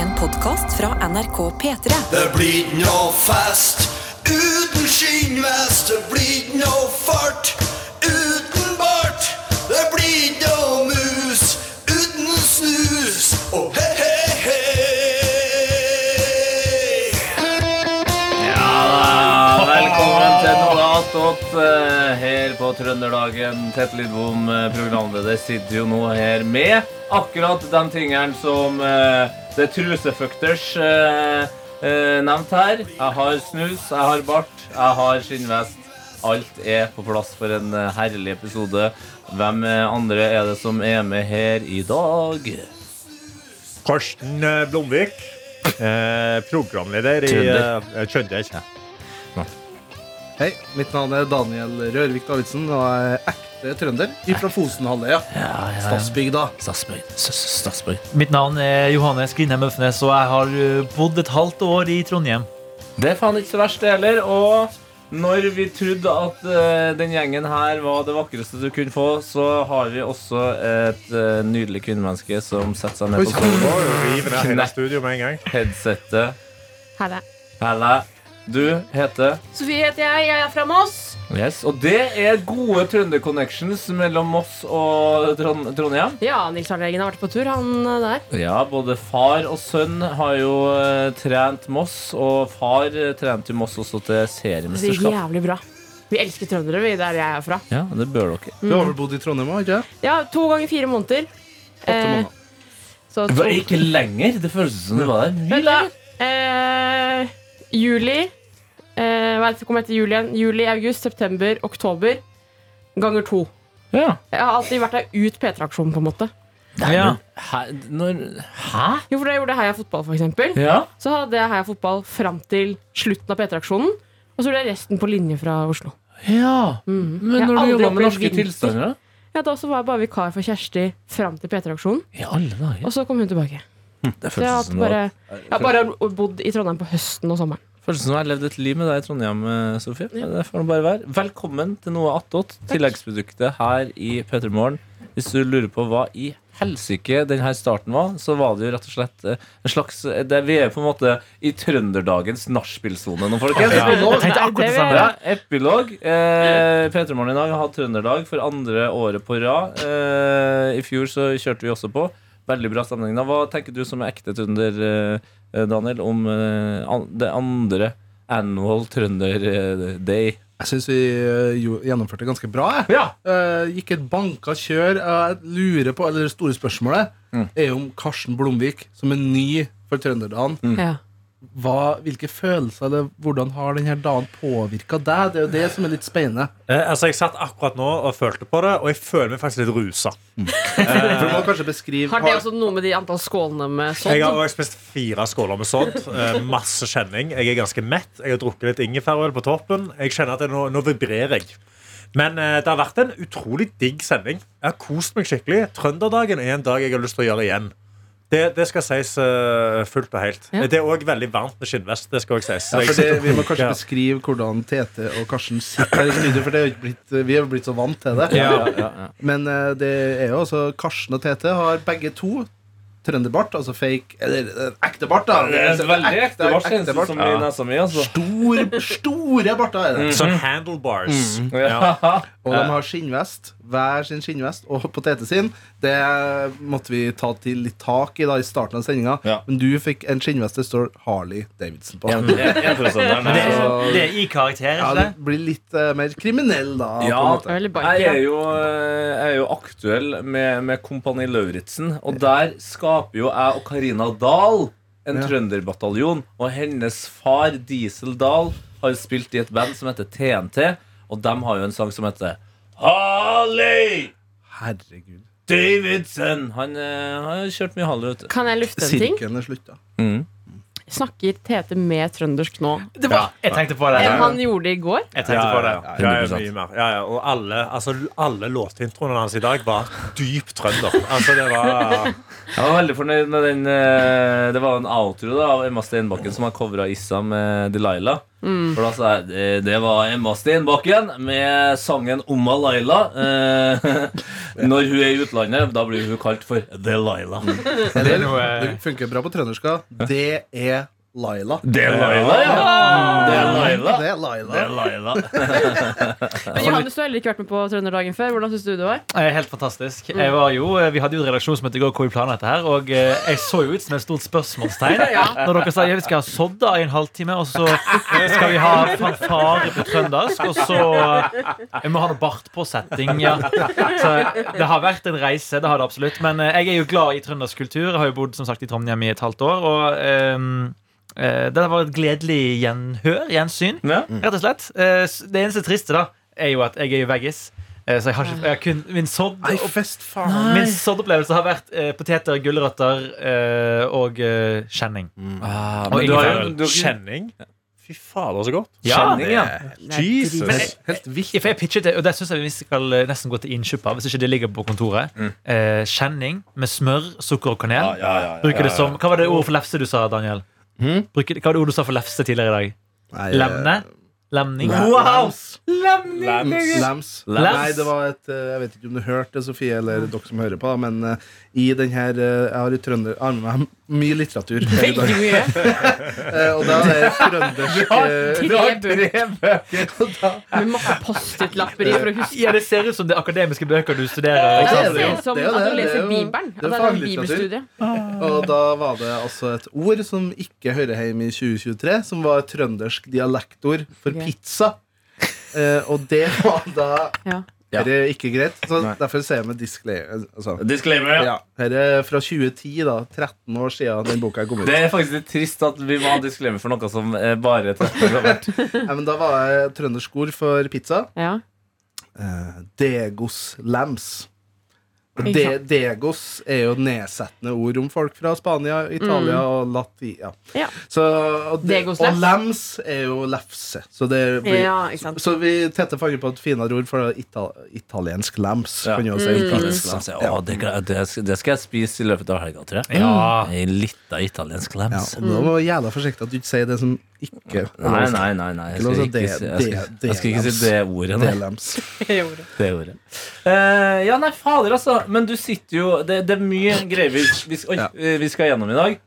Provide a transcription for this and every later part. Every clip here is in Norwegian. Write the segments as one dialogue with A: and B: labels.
A: En podkast fra NRK P3.
B: Det blir ikke noe fest uten skinnvest. Det blir ikke noe fart uten bart. Det blir ikke noe mus uten snus. Og hei, hei, hei.
C: Ja, velkommen til noe attåt eh, her på Trønderdagen. Tete Lidbom, eh, programleder, sitter jo nå her med akkurat de tingene som eh, The Trusefuckers eh, eh, nevnte her. Jeg har snus, jeg har bart, jeg har skinnvest. Alt er på plass for en eh, herlig episode. Hvem eh, andre er det som er med her i dag?
D: Karsten eh, Blomvik, eh, programleder i
C: Trønder.
D: eh, Trønder.
E: Hei, mitt navn er Daniel Rørvik Davidsen og jeg er ekte trønder fra Fosenhalvøya. Stadsbygda.
F: Mitt navn er Johannes Grindheim Øfnes, og jeg har uh, bodd et halvt år i Trondheim.
C: Det er faen ikke så verst det heller. Og når vi trodde at eh, den gjengen her var det vakreste du kunne få, så har vi også et eh, nydelig kvinnemenneske som setter seg ned på sofaen.
D: Oi, vi gir med det her i studio med en gang.
C: Headsettet.
G: Helle.
C: Helle, du heter
G: Sofie heter jeg, jeg er fra Moss.
C: Yes. Og det er gode trønder-connections mellom Moss og Trond Trondheim.
G: Ja, Nils Arne Eggen har vært på tur, han eh, der.
C: Ja, både far og sønn har jo eh, trent Moss, og far eh, trente jo Moss også til
G: Det gikk
C: seriemesterskap.
G: jævlig bra. Vi elsker trøndere, vi, der jeg er fra.
C: Ja, det bør dere.
E: Du har vel bodd i Trondheim òg, ikke sant?
G: Ja, to ganger fire måneder. Eh,
E: Åtte måneder.
G: så
C: Det
G: to.
C: var ikke lenger. Det føltes som det var der.
G: Vent da. Eh, juli. Eh, hva er det som kommer etter juli igjen? Juli, august, september, oktober. Ganger to.
C: Ja.
G: Jeg har alltid vært der ut P3-aksjonen, på en måte.
F: Ja.
C: Hæ? Når, hæ?
G: Jo, for da jeg gjorde Heia fotball, for eksempel.
C: Ja.
G: Så hadde jeg Heia fotball fram til slutten av P3-aksjonen. Og så gjorde jeg resten på linje fra Oslo.
C: ja. Men når
G: Jeg har
C: du
G: aldri
C: jobba med
G: opplevd
C: norske
G: vinter.
C: tilstander, da?
G: Ja, Da så var jeg bare vikar for Kjersti fram til P3-aksjonen,
C: I alle dager.
G: og så kom hun tilbake.
C: Det
G: Så jeg har
C: føltes
G: hatt
C: som
G: bare,
C: bare...
G: jeg har bare bodd i Trondheim på høsten og sommeren.
C: føles som jeg har levd et liv med deg i Trondheim, eh, Sofie. Det får det bare være. Velkommen til Noe attåt, tilleggsproduktet her i P3 Morgen. Hvis du lurer på hva i helsike den her starten var, så var det jo rett og slett eh, en slags eh, det, Vi er på en måte i trønderdagens nachspielsone nå, folkens.
F: Jeg tenkte akkurat det samme.
C: Ja, epilog. Eh, P3morgen i dag har hatt trønderdag for andre året på rad. Eh, I fjor så kjørte vi også på. Veldig bra stemning. da. Hva tenker du som er ekte trønder, eh, Daniel, om eh, an det andre annual trønder eh, day?
E: Jeg syns vi eh, jo, gjennomførte det ganske bra. jeg.
C: Ja!
E: Eh, gikk et banka kjør. Eh, Jeg lurer på, eller Det store spørsmålet
C: Mm.
E: er jo om Karsten Blomvik, som er ny for trønderdagen,
C: Mm.
G: Ja.
E: hva, hvilke følelser eller hvordan har denne dagen påvirka deg? Det er jo det som er litt spennende.
H: Eh, altså, Jeg satt akkurat nå og følte på det, og jeg føler meg faktisk litt rusa.
E: For du må kanskje beskrive
G: Har det også noe med de antall skålene med
H: Jeg har
G: sånn?
H: også spist fire skåler med sodd. Eh, masse kjenning. Jeg er ganske mett. Jeg har drukket litt ingefærøl på toppen. Jeg kjenner at jeg nå, nå vibrerer jeg. Men eh, det har vært en utrolig digg sending. Jeg har kost meg skikkelig. Trønderdagen er en dag jeg har lyst til å gjøre igjen. Det, det skal sies eh, fullt og helt.
G: Ja.
H: Det er òg veldig varmt med skinnvest. Det skal også sies.
E: Ja,
H: Så jeg
E: for det,
H: sitter-
E: vi må kanskje
H: Ja.
E: beskrive hvordan Tete og Karsten sitter her i studio, for det er jo ikke blitt, vi er jo blitt så vant til det.
H: Ja.
E: Men eh, det er jo altså Karsten og Tete har begge to trønderbart, altså fake Eller eh, ekte bart, da.
C: Det er veldig ekte bart, kjennes det som i
E: Ja.
C: nesa mi. Altså.
E: Stor, store barter er det.
H: Sånn handlebars.
G: Mm.
C: Ja.
E: Og de har skinnvest. Hver sin skinnvest. Og på Tete sin. Det måtte vi ta til litt tak i da i starten av sendinga.
C: Ja.
E: Men du fikk en skinnvest det står Harley Davidson på.
C: En- en- en prosent der,
F: Det,
C: nei.
F: det er i karakter,
E: Ja,
F: ikke
E: det
F: det?
E: blir litt eh, mer kriminell, da. på en
C: Ja,
E: måte.
C: Jeg er
G: Eller bike, ja.
C: jo, eh, jeg er jo aktuell med, med Kompani Lauritzen, og der skaper jo jeg og Karina Dahl en
E: Ja.
C: trønderbataljon. Og hennes far, Diesel Dahl, har spilt i et band som heter TNT, og de har jo en sang som heter Harley
E: Herregud.
C: Davidson. Han eh, har kjørt mye Harley, vet du.
G: Kan jeg lufte en ting?
E: Sirkelen er slutta.
G: Snakker Tete mer trøndersk nå
F: det var, jeg tenkte på det.
G: enn han gjorde i går?
F: Jeg tenkte på det.
H: Ja, ja, ja,
C: 100%.
H: mye mer. Ja, ja. Og alle, altså, alle låtintroene hans i dag var dypt trønder. Altså, det var
C: Jeg var veldig fornøyd med den eh, Det var en outro da, av Emma Steinbakken som har covra Issa med Delilah. For da sa jeg, det- Det var Emma Stenbakken med sangen Omma Laila. Eh, når hun er i utlandet, da blir hun kalt for The Laila.
E: Er det,
I: noe-
F: Eh,
E: det funker bra på trønderska. Det er Laila.
C: The Laila, ja. The Laila.
E: Det er Laila.
C: The Laila.
G: Men Johannes, du har heller ikke vært med på Trønderdagen før. Hvordan syns du det var?
F: Eh, Helt fantastisk. Jeg var jo, eh, vi hadde jo et redaksjonsmøte i går hvor vi planla dette her, og eh, jeg så jo ut som et stort spørsmålstegn når dere sa ja, vi skal ha sodda i en halvtime, og så skal vi ha fanfare på trøndersk, og så eh, Vi må ha noe bartpåsetting, ja. Så det har vært en reise, det har det absolutt. Men eh, jeg er jo glad i trøndersk kultur. Jeg har jo bodd som sagt i Trondheim i et halvt år, og ehm, eh, det var et gledelig gjenhør, gjensyn,
C: Ja.
F: rett og slett. Eh, s- Det eneste triste, da, er jo at jeg er jo veggis. Eh, Så jeg har ikke, jeg har kun, min sodd
E: Ei, fest, faen.
F: Min soddopplevelse har vært eh, poteter, gulrøtter eh, og eh, kjenning.
C: Ah,
F: Og
C: men du har jo
F: ingefær.
C: du,
H: Kjenning? Fy fader, så godt.
C: Kjenning, ja.
F: Men
H: Jesus.
F: jeg- Ja, for jeg pitchet det, og det syns jeg vi skal eh, nesten gå til innkjøp av. Hvis ikke det ligger på kontoret. Eh, kjenning med smør, sukker og kanel. Bruker det som, Hva var det ordet for lefse du sa, Daniel? Bruker, hva var det ordet du sa for lefse tidligere i dag?
E: Nei,
F: Lemne? Lemning?
E: Eh, Nei.
F: Wow!
E: Lams. Lams.
F: Lams.
E: Nei, det var et eh, Jeg vet ikke om du hørte det, Sofie, eller dere som hører på, men eh, i den her eh, Jeg har i trønder jeg har med meg mye litteratur. her i dag.
G: Veldig mye.
E: Eh, Og da er det trøndersk eh,
G: Tre bøker
E: og da,
G: med masse Post-It-lapper i for å huske.
F: Ja, Det ser ut som det er akademiske bøker du studerer.
G: Det
F: Ikke
E: er
F: sant?
E: det jo.
G: ser ut som
E: Det er jo
G: at
E: det.
G: du
E: Det er
G: leser
E: jo-
G: Bibelen.
E: det er
G: At det er en
E: faglitteratur.
G: bibelstudie.
E: og da var det altså et ord som ikke hører hjemme i 2023, som var et trøndersk dialektord for
G: Ok.
E: pizza. Eh, og det var da
G: Ja.
E: Dette er ikke greit. Så derfor sier jeg med disclaimer. Altså.
C: Disclaimer. ja.
E: Ja, Dette er fra 2010, da. 13 år siden den boka kom ut.
C: Det er faktisk litt trist at vi må ha disclaimer for noe som eh, bare tester har vært.
E: Nei, men da var jeg trøndersk ord for pizza.
G: Ja.
E: Eh, Degos lams.
G: Ikke
E: De,
G: sant.
E: degos er jo nedsettende ord om folk fra Spania,
G: Mm.
E: Italia og Latia.
G: Ja.
E: Så, og, de,
G: Degos
E: og
G: lefs.
E: lams er jo lefse. Så, det blir,
G: Ja, ikke sant.
E: så vi Tete fant på et finere ord for ita, italiensk lams.
C: Ja.
E: Kan jo også si italiensk
C: Så
E: lams.
C: jeg, Å, det, gra- det skal- det skal jeg spise i løpet av helga, tror jeg.
F: Ja.
C: En liten italiensk
E: Ja,
C: lems.
E: og nå må du jævla forsiktig at du ikke sier det som ikke
C: Nei, nei, nei. nei. Jeg,
E: Eller
C: skal
E: altså
C: ikke,
E: det-
C: si- jeg, skal,
E: det-
C: jeg skal ikke
E: det-
C: si det ordet.
E: Det
C: Nei.
E: er lams.
C: Det ordet. Eh, ja, nei, fader, altså. Men du sitter jo Det, det er mye greier vi, vi, oi,
E: Ja. Mm.
C: eh, vi skal gjennom i dag.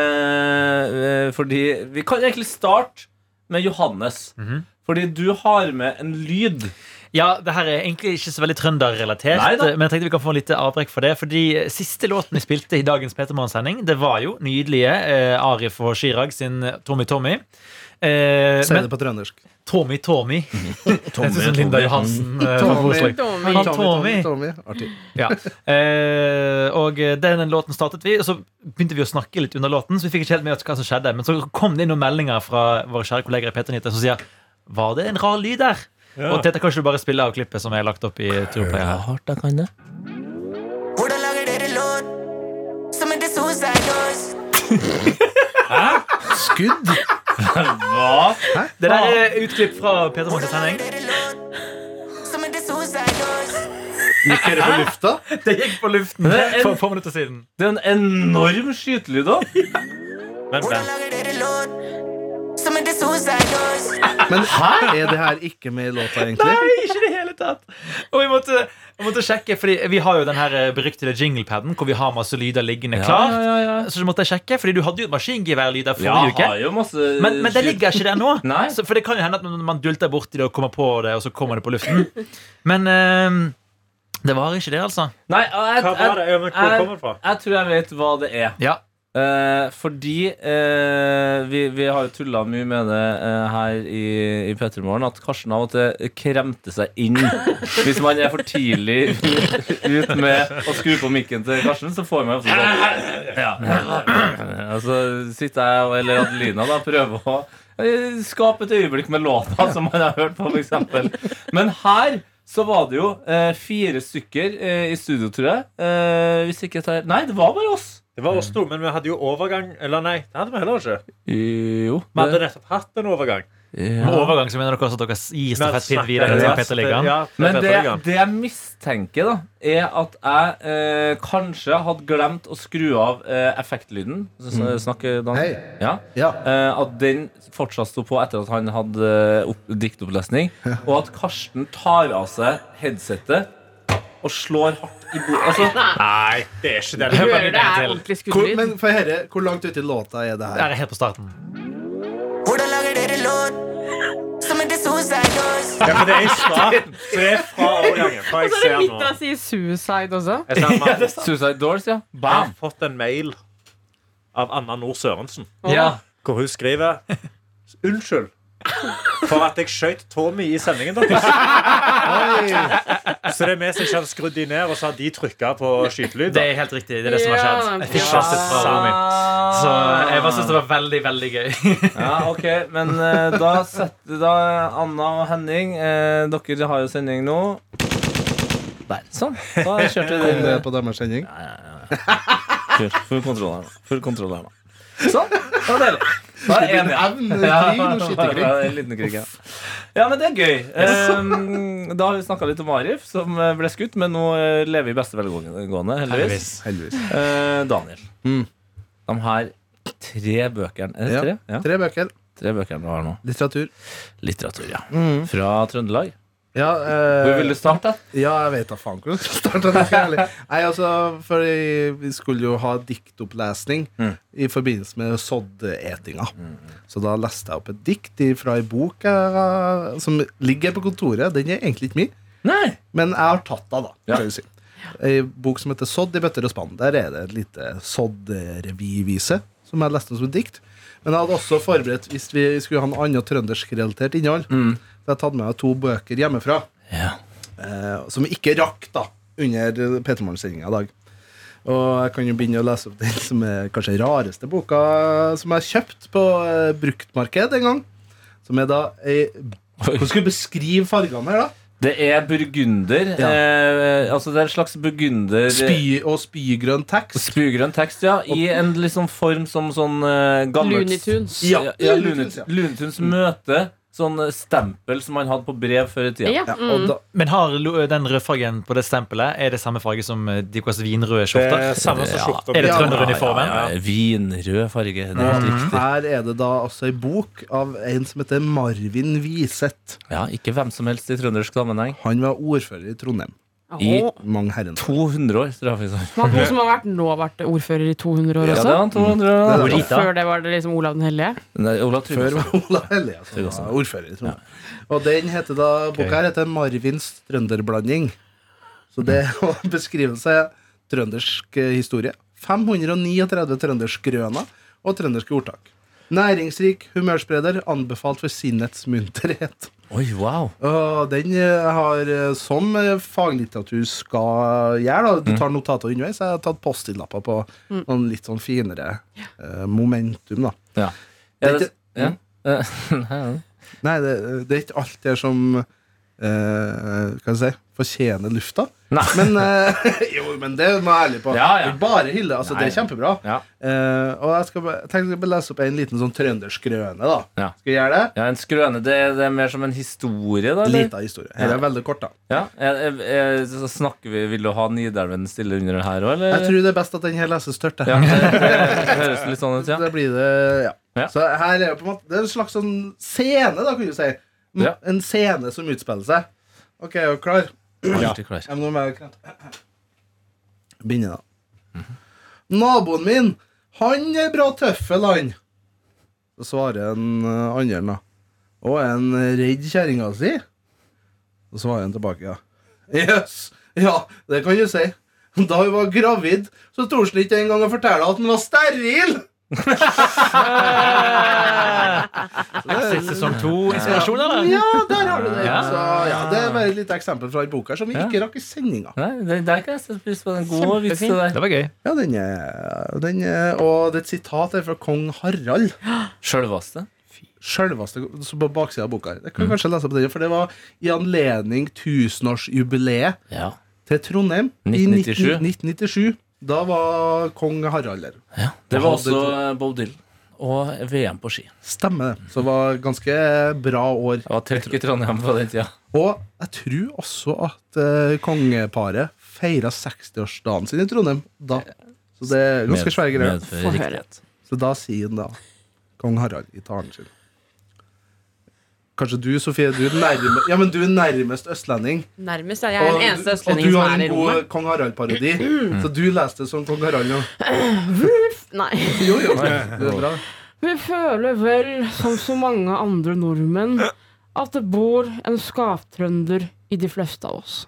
C: Eh, eh, fordi Vi kan egentlig starte med Johannes.
E: Mhm.
C: Fordi du har med en lyd.
F: Ja, det her er egentlig ikke så veldig trønderrelatert,
C: Nei da.
F: men jeg tenkte vi kan få litt avbrekk for det. Fordi eh, siste låten vi spilte i dagens Petermann-sending, det var jo nydelige eh, Arif og Chirag sin Tommy Tommy. Eh,
E: Si
F: men
E: det på trøndersk.
F: Tommy Tommy Jeg synes sånn Linda Johansen eh, var
E: Tommy.
F: koselig.
G: Tommy.
F: Han Tommy.
E: Tommy. Artig.
F: Ja. Eh, og den låten startet vi, og så begynte vi å snakke litt under låten. Så vi fikk ikke helt med oss hva som skjedde Men så kom det inn noen meldinger fra våre kjære kolleger i P3nyheter som sier Var det en rar lyd der? Og Tete, kan ikke du bare spille av klippet som jeg har lagt opp i Turplay her?
C: Hardt jeg kan det.
J: Hvordan lager dere låt som heter Suicide Doors?
E: Skudd?
C: Hva?
F: Det der er utklipp fra Peter Morgens sending.
J: Dere låt som heter Suicide Doors?
E: Gikk dere på lufta?
F: Det gikk på luften
C: Det er en-
F: for få minutter siden.
C: Det er en enorm skytelyd òg.
H: Men,
J: Hvordan
H: men.
J: lager dere låt som heter Suicide Doors?
E: Men er det her ikke med i låta, egentlig?
F: Nei, ikke i det hele tatt. Og vi måtte, vi måtte sjekke, fordi vi har jo den her eh, beryktede jinglepaden hvor vi har masse lyder liggende klart. Så måtte jeg sjekke, fordi du hadde jo
C: Ja,
F: maskingeværlyder forrige uke.
C: har jo masse
F: Men, men det ligger ikke der nå.
C: Nei.
F: Så, for det kan jo hende at man, man dulter borti det og kommer på det, og så kommer det på luften. Men eh, det var ikke det, altså.
C: Nei, jeg,
H: Hva var
C: jeg,
H: det? Ja, men Hvor kommer det fra?
C: jeg tror jeg vet hva det er.
F: Ja.
C: Eh, fordi eh, vi, vi har jo tulla mye med det eh, her i, i Petremorgen, at Karsten av og til kremte seg inn. Hvis man er for tidlig ut med å skru på mikken til Karsten, så får man ofte sånn ja. Og så sitter jeg, og- eller Adelina, da, prøver å eh, skape et øyeblikk med låta som man har hørt på, f.eks. Men her så var det jo eh, fire stykker eh, i studio, tror jeg. Eh, hvis ikke jeg tar Nei, det var bare oss.
H: Det var oss to, men vi hadde jo overgang. Eller nei, det hadde vi heller ikke.
C: Jo.
H: Vi hadde nettopp hatt en overgang.
F: Med overgang så mener dere også at dere gir stafettpinn videre til
H: Ja,
F: Petter Ligan.
H: ja, til
C: Men
H: Petter
C: det,
H: Ligan.
C: det jeg mistenker, da, er at jeg eh, kanskje hadde glemt å skru av eh, effektlyden. Så- så- Snakk, Dan.
E: Mm. Hei.
C: Ja.
E: Ja.
C: Eh, at den fortsatt sto på etter at han hadde eh, opp, diktopplesning. Og at Karsten tar av seg headsetet og slår hardt i bordet. Altså,
H: Nei, det er ikke det.
G: Du hører det
F: en
G: er
F: til.
G: ordentlig
E: Hvor,
G: skuddlyd.
E: men for herre, hvor langt ute i låta er det her?
F: Der er helt på starten.
J: Hvordan lager dere lån som heter Suicide Doors?
H: Ja, for det er i starten. Så det er fra overgangen. Fra
G: Og
H: jeg
G: så er
H: ser
G: det
H: nå.
G: midt av sier suicide også.
H: Jeg ser at man-
C: Suicide Doors, ja.
H: Jeg har
F: Ah.
H: fått en mail av Anna Nord Sørensen,
F: Ja.
H: hvor hun skriver Unnskyld for at jeg skjøt Tommy i sendingen deres. Så det er vi som ikke hadde skrudd de ned, og så har de trykka på skytelyd.
F: Det er helt riktig. Det er det som har skjedd. Jeg fikk
G: Ja.
F: ikke sett fra Tommy. Så jeg bare synes det var veldig, veldig gøy.
C: Ja, ok, men eh, da setter da Anna og Henning eh, Dere har jo sending nå. Der. Sånn. Da kjørte vi
E: Kom det
C: den.
E: eh, på deres sending?
C: Kult. Full kontroll her nå. Full kontroll her nå. Sånn. Det var deilig. Da er jeg enig.
E: Evn, krig, og
C: Ja,
E: skytekrig.
C: det er en liten krig, ja. ja, men det er gøy. Ehm, da har vi snakka litt om Arif, som eh, ble skutt, men nå eh, lever i beste velgående, heldigvis.
E: Heldigvis.
C: Eh, Daniel.
E: Mm.
C: De her tre bøkene Er det
E: Ja.
C: tre? Ja,
E: Tre bøker.
C: tre bøkene du har nå.
E: Litteratur.
C: Litteratur, ja. Fra Trøndelag.
E: Ja, eh,
C: Mm. Hvor vil du starte?
E: Ja, jeg vet da faen hvordan jeg skal starte. det skal jeg ærlig. Nei, altså, for jeg- Vi skulle jo ha diktopplesning
C: Mm.
E: i forbindelse med soddeetinga. Så da leste jeg opp et dikt fra ei bok eh, som ligger på kontoret. Den er egentlig ikke min,
C: Nei.
E: men jeg har tatt den, da.
C: Ja.
E: kan du si. Ei bok som heter Sodd i bøtter og spann. Der er det et lite soddrevyvise som jeg leste som et dikt. Men jeg hadde også forberedt hvis vi skulle ha en annen trøndersk-relatert innhold.
C: Mm.
E: Så jeg tatt med meg to bøker hjemmefra eh, som vi ikke rakk da under P3morgen-sendinga i dag. Og jeg kan jo begynne å lese opp den som er kanskje den rareste boka som jeg kjøpte på eh, bruktmarked en gang. Som er da ei Hvordan skal jeg beskrive fargene her, da?
C: Det er burgunder.
E: Ja.
C: Eh, altså det er en slags burgunder
E: Spy og spygrønn tekst.
C: Spygrønn tekst, ja. I en liksom form som sånn uh, gammelt
G: Looney Tunes.
C: Ja, ja,
E: Looney
C: Looney
E: Tunes, ja.
C: Looney Tunes møte. Sånn eh, stempel som man hadde på brev før i tida.
G: Ja. mm.
E: Ja, og da,
F: Men har lo- den rødfargen på det stempelet Er det samme farge som eh, Dikos vinrøde skjorter?
H: Det er samme som skjorta.
F: Er det
E: Ja. Mm.
F: trønderuniformen?
C: Ja, ja, ja. Vinrød farge. Det er helt riktig.
E: her er det da altså ei bok av en som heter Marvin Wiseth.
C: Ja, ikke hvem som helst i trøndersk sammenheng.
E: Han var ordfører i Trondheim.
C: I
G: Åh.
E: Mange herrene.
C: 200 år, straffesakk.
G: Men Han som har vært, nå har vært ordfører i 200 år
C: Ja, det
G: også.
C: var 200 år.
E: Det er det.
F: Rita.
G: Før det var det liksom Olav den hellige.
C: Nei, Olav
E: Før
C: Tryggvason.
E: var Ola Eliasson
C: Tryggvason.
E: var ordfører i Trondheim. Og den heter da, boka her heter 'Marvins trønderblanding'. Så det er å beskrive seg trøndersk eh, historie. 539 trønderskrøner og trønderske ordtak. Næringsrik humørspreder, anbefalt for sinnets munterhet.
C: Oi, wow.
E: Og den eh, har, eh, som eh, faglitteratur skal gjøre, da. du tar notater underveis, jeg har tatt post-it-lapper på noen litt sånn finere eh, momentum, da.
C: Ja.
E: Det
C: Er
E: er
C: det, ja.
E: Nei, det, det er ikke alt det som eh, Hva skal jeg si fortjener lufta.
C: Nei.
E: Men eh, jo, men det må jeg ærlig på.
C: Ja, ja.
E: Det er Bare hylle. Altså,
C: Nei.
E: det er kjempebra.
C: Ja.
E: Eh, og jeg skal, bare- jeg tenkte jeg skal bare lese opp en liten sånn trøndersk røne, da.
C: Ja.
E: Skal jeg gjøre det?
C: ja, en skrøne. Det, det er mer som en historie, da? eller?
E: Lita historie. Her er veldig kort, da.
C: Ja, er, er, er, så snakker vi Vil du ha Nidelven stille under det her òg, eller?
E: Jeg tror det er best at den her leses tørt. jeg.
C: ja, det, det høres litt sånn ut, ja.
E: Da blir det ja.
C: Ja.
E: Så her er det på en måte Det er en slags sånn scene, da, kan du si. M-
C: Ja.
E: En scene som utspiller seg. OK, er du klar?
C: Alltid klar.
E: Jeg må være klar. Begynne, da. Naboen min, han er bra tøffel, han. Så svarer en eh, andre, da. Og er han redd kjerringa si? Så svarer han tilbake, ja. Jøss. Ja, det kan du si. Da hun var gravid, så torde hun ikke engang å fortelle at hun var steril.
F: Exit sesong to inspirasjon, sånn, eller?
E: Ja, der har du det.
F: Ja.
E: Så, ja, det er bare et lite eksempel fra en bok her som vi
C: Ja.
E: ikke rakk i sendinga.
C: Nei, det, der kan jeg sette pris på. Den gode vitsen der.
F: Det var gøy.
E: Ja, den er, den er Og det er et sitat her fra kong Harald.
C: Sjølvaste.
E: Selveste, så på baksida av boka her. Jeg kan kanskje lese på den, for det var i anledning tusenårsjubileet
C: Ja.
E: til Trondheim
C: 1997.
E: i 1997. Da var kong Harald der.
C: Ja, det var også eh, Bob Dylan. Og VM på ski.
E: Stemmer det. Så det var ganske bra år.
C: Jeg var trekk i Trondheim på den tida.
E: Og jeg tror også at eh, kongeparet feira 60-årsdagen sin i Trondheim da. Så det er ganske svære greier.
C: Medfører
G: høre.
C: riktighet.
E: Så da sier han da kong Harald i talen sin. Kanskje du, Sofie, du er, nærme, ja, men du er nærmest østlending.
G: Nærmest. ja. Jeg er
E: og-
G: den eneste
E: og
G: østlendingen
E: du
G: som
E: har
G: er i
E: en god
G: rommet.
E: kong Harald-parodi. Så du leste det som kong Harald nå.
G: Nei.
E: Jo, jo. Det er bra.
G: Vi føler vel, som så mange andre nordmenn, at det bor en skaptrønder i de fleste av oss.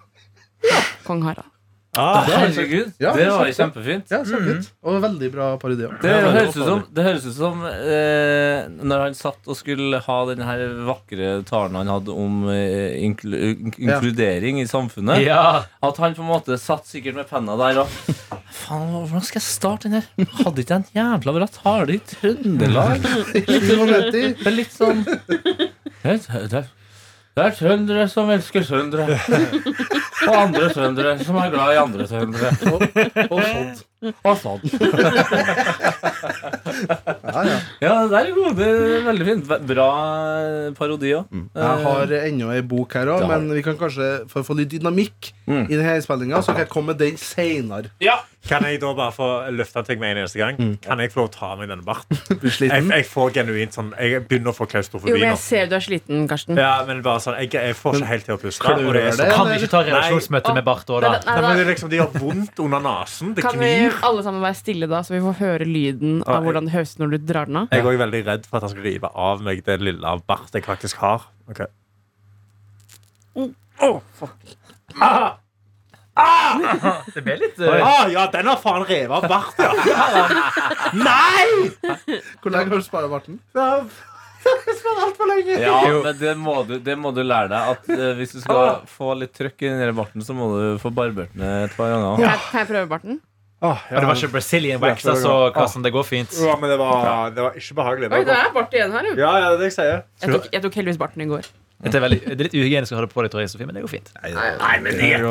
G: Ja, kong Harald.
C: Ah, Herregud,
E: Ja,
C: det var
E: det er sant.
C: kjempefint.
E: Ja, kjempefint. Og veldig bra parodi òg.
C: Det høres ut som, det høres ut som eh, når han satt og skulle ha den her vakre talen han hadde om eh, inklu, ink-
E: Ja.
C: inkludering i samfunnet,
F: Ja.
C: at han på en måte satt sikkert med penna der og Faen, hvordan skal jeg starte den her? Hadde ikke jeg en jævla bra tale i Trøndelag? Det er litt sånn Det er, det er, det er trøndere som elsker trøndere. Og andre trøndere som er glad i andre trøndere. Og, og sånn. Og sånn.
E: Ja, ja.
C: Ja, det der er god. Det er veldig fint. Ve- Bra parodi òg.
E: Jeg har ennå ei bok her òg,
C: Det har
E: men vi kan kanskje for å få litt dynamikk i denne innspillinga, så kan jeg komme med den seinere.
H: Kan jeg da bare få løfte en ting med en eneste gang?
F: Mm.
H: Kan jeg få lov å ta av meg denne barten?
E: Blir
H: Jeg,
E: sliten.
H: jeg får genuint sånn Jeg begynner å få
G: Jo,
H: klaustrofobi
G: men
H: nå.
G: jeg ser du er sliten, Karsten.
H: altså. Ja, men bare sånn Jeg, jeg får ikke helt til å puste.
E: Klør
H: Og det er
E: det?
H: sånn
F: Kan vi ikke ta redaksjonsmøte med Barth òg,
G: Nei,
F: da?
G: da-
H: Nei,
G: nei,
H: men det,
G: da-
H: er liksom, det gjør vondt under nesen. Det
G: Kan vi
H: knir.
G: alle sammen være stille da, så vi får høre lyden
H: Ja,
G: av hvordan det høres ut når du drar den av?
H: Jeg er også veldig redd for at han skal rive av meg det lille av bart jeg faktisk har. Ok.
F: Det ble litt
H: Ah, ja, den har faen revet av bart, ja! Nei!
E: Hvor lenge har du spara barten?
C: Ja, men det må, du, det må du lære deg. At eh, Hvis du
E: Ah.
C: skal få litt trøkk i den der barten, så må du få barbert den et par ganger.
G: Kan jeg, kan jeg prøve barten?
F: Det var ikke Brazilian wax, altså, Karsten. Det går fint.
H: Ja, men det var, det var ikke behagelig.
G: Oi, det er bart igjen her, jo.
H: Ja, ja, det er det jeg sier.
G: Jeg tok, jeg tok heldigvis barten i går.
F: Det er, veldig, det er litt uhygienisk å ha det på deg, tror jeg, Sofie, men det går fint.
H: Å,
F: Eh,
H: det her,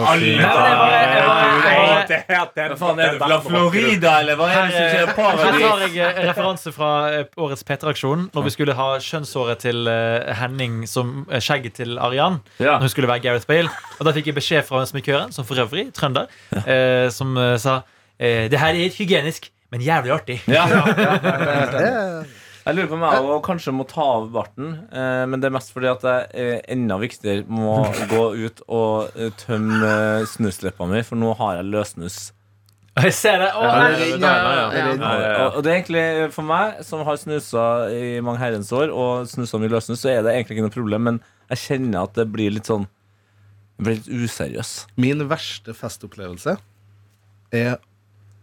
H: den,
C: Faen, er du fra
H: barten var-
C: Florida, eller hva er det som skjer?
F: Her
C: Paradis?
F: tar jeg eh, referanse fra eh, årets P3-aksjon. Når vi skulle ha skjønnshåret til eh, Henning som eh, skjegget til Arian.
C: Ja.
F: Når hun skulle være Gareth Bale. Og da fikk jeg beskjed fra smykkøren, som for øvrig trønder, eh, som eh, sa eh, Det her er ikke hygienisk, men jævlig artig.
C: Ja.
E: Eh,
C: Jeg lurer på om jeg også kanskje må ta av barten, eh, men det er mest fordi at jeg eh, enda viktigere må gå ut og eh, tømme eh, snusleppa mi, for nå har jeg løssnus.
F: Og jeg ser det. Å,
E: Ja,
F: nei.
E: det er-
G: ja,
E: ja,
C: Ja, Og, og det er egentlig eh, for meg, som har snusa i mange herrens år, og snusa mye løssnus, så er det egentlig ikke noe problem, men jeg kjenner at det blir litt sånn det blir litt useriøs.
E: Min verste festopplevelse er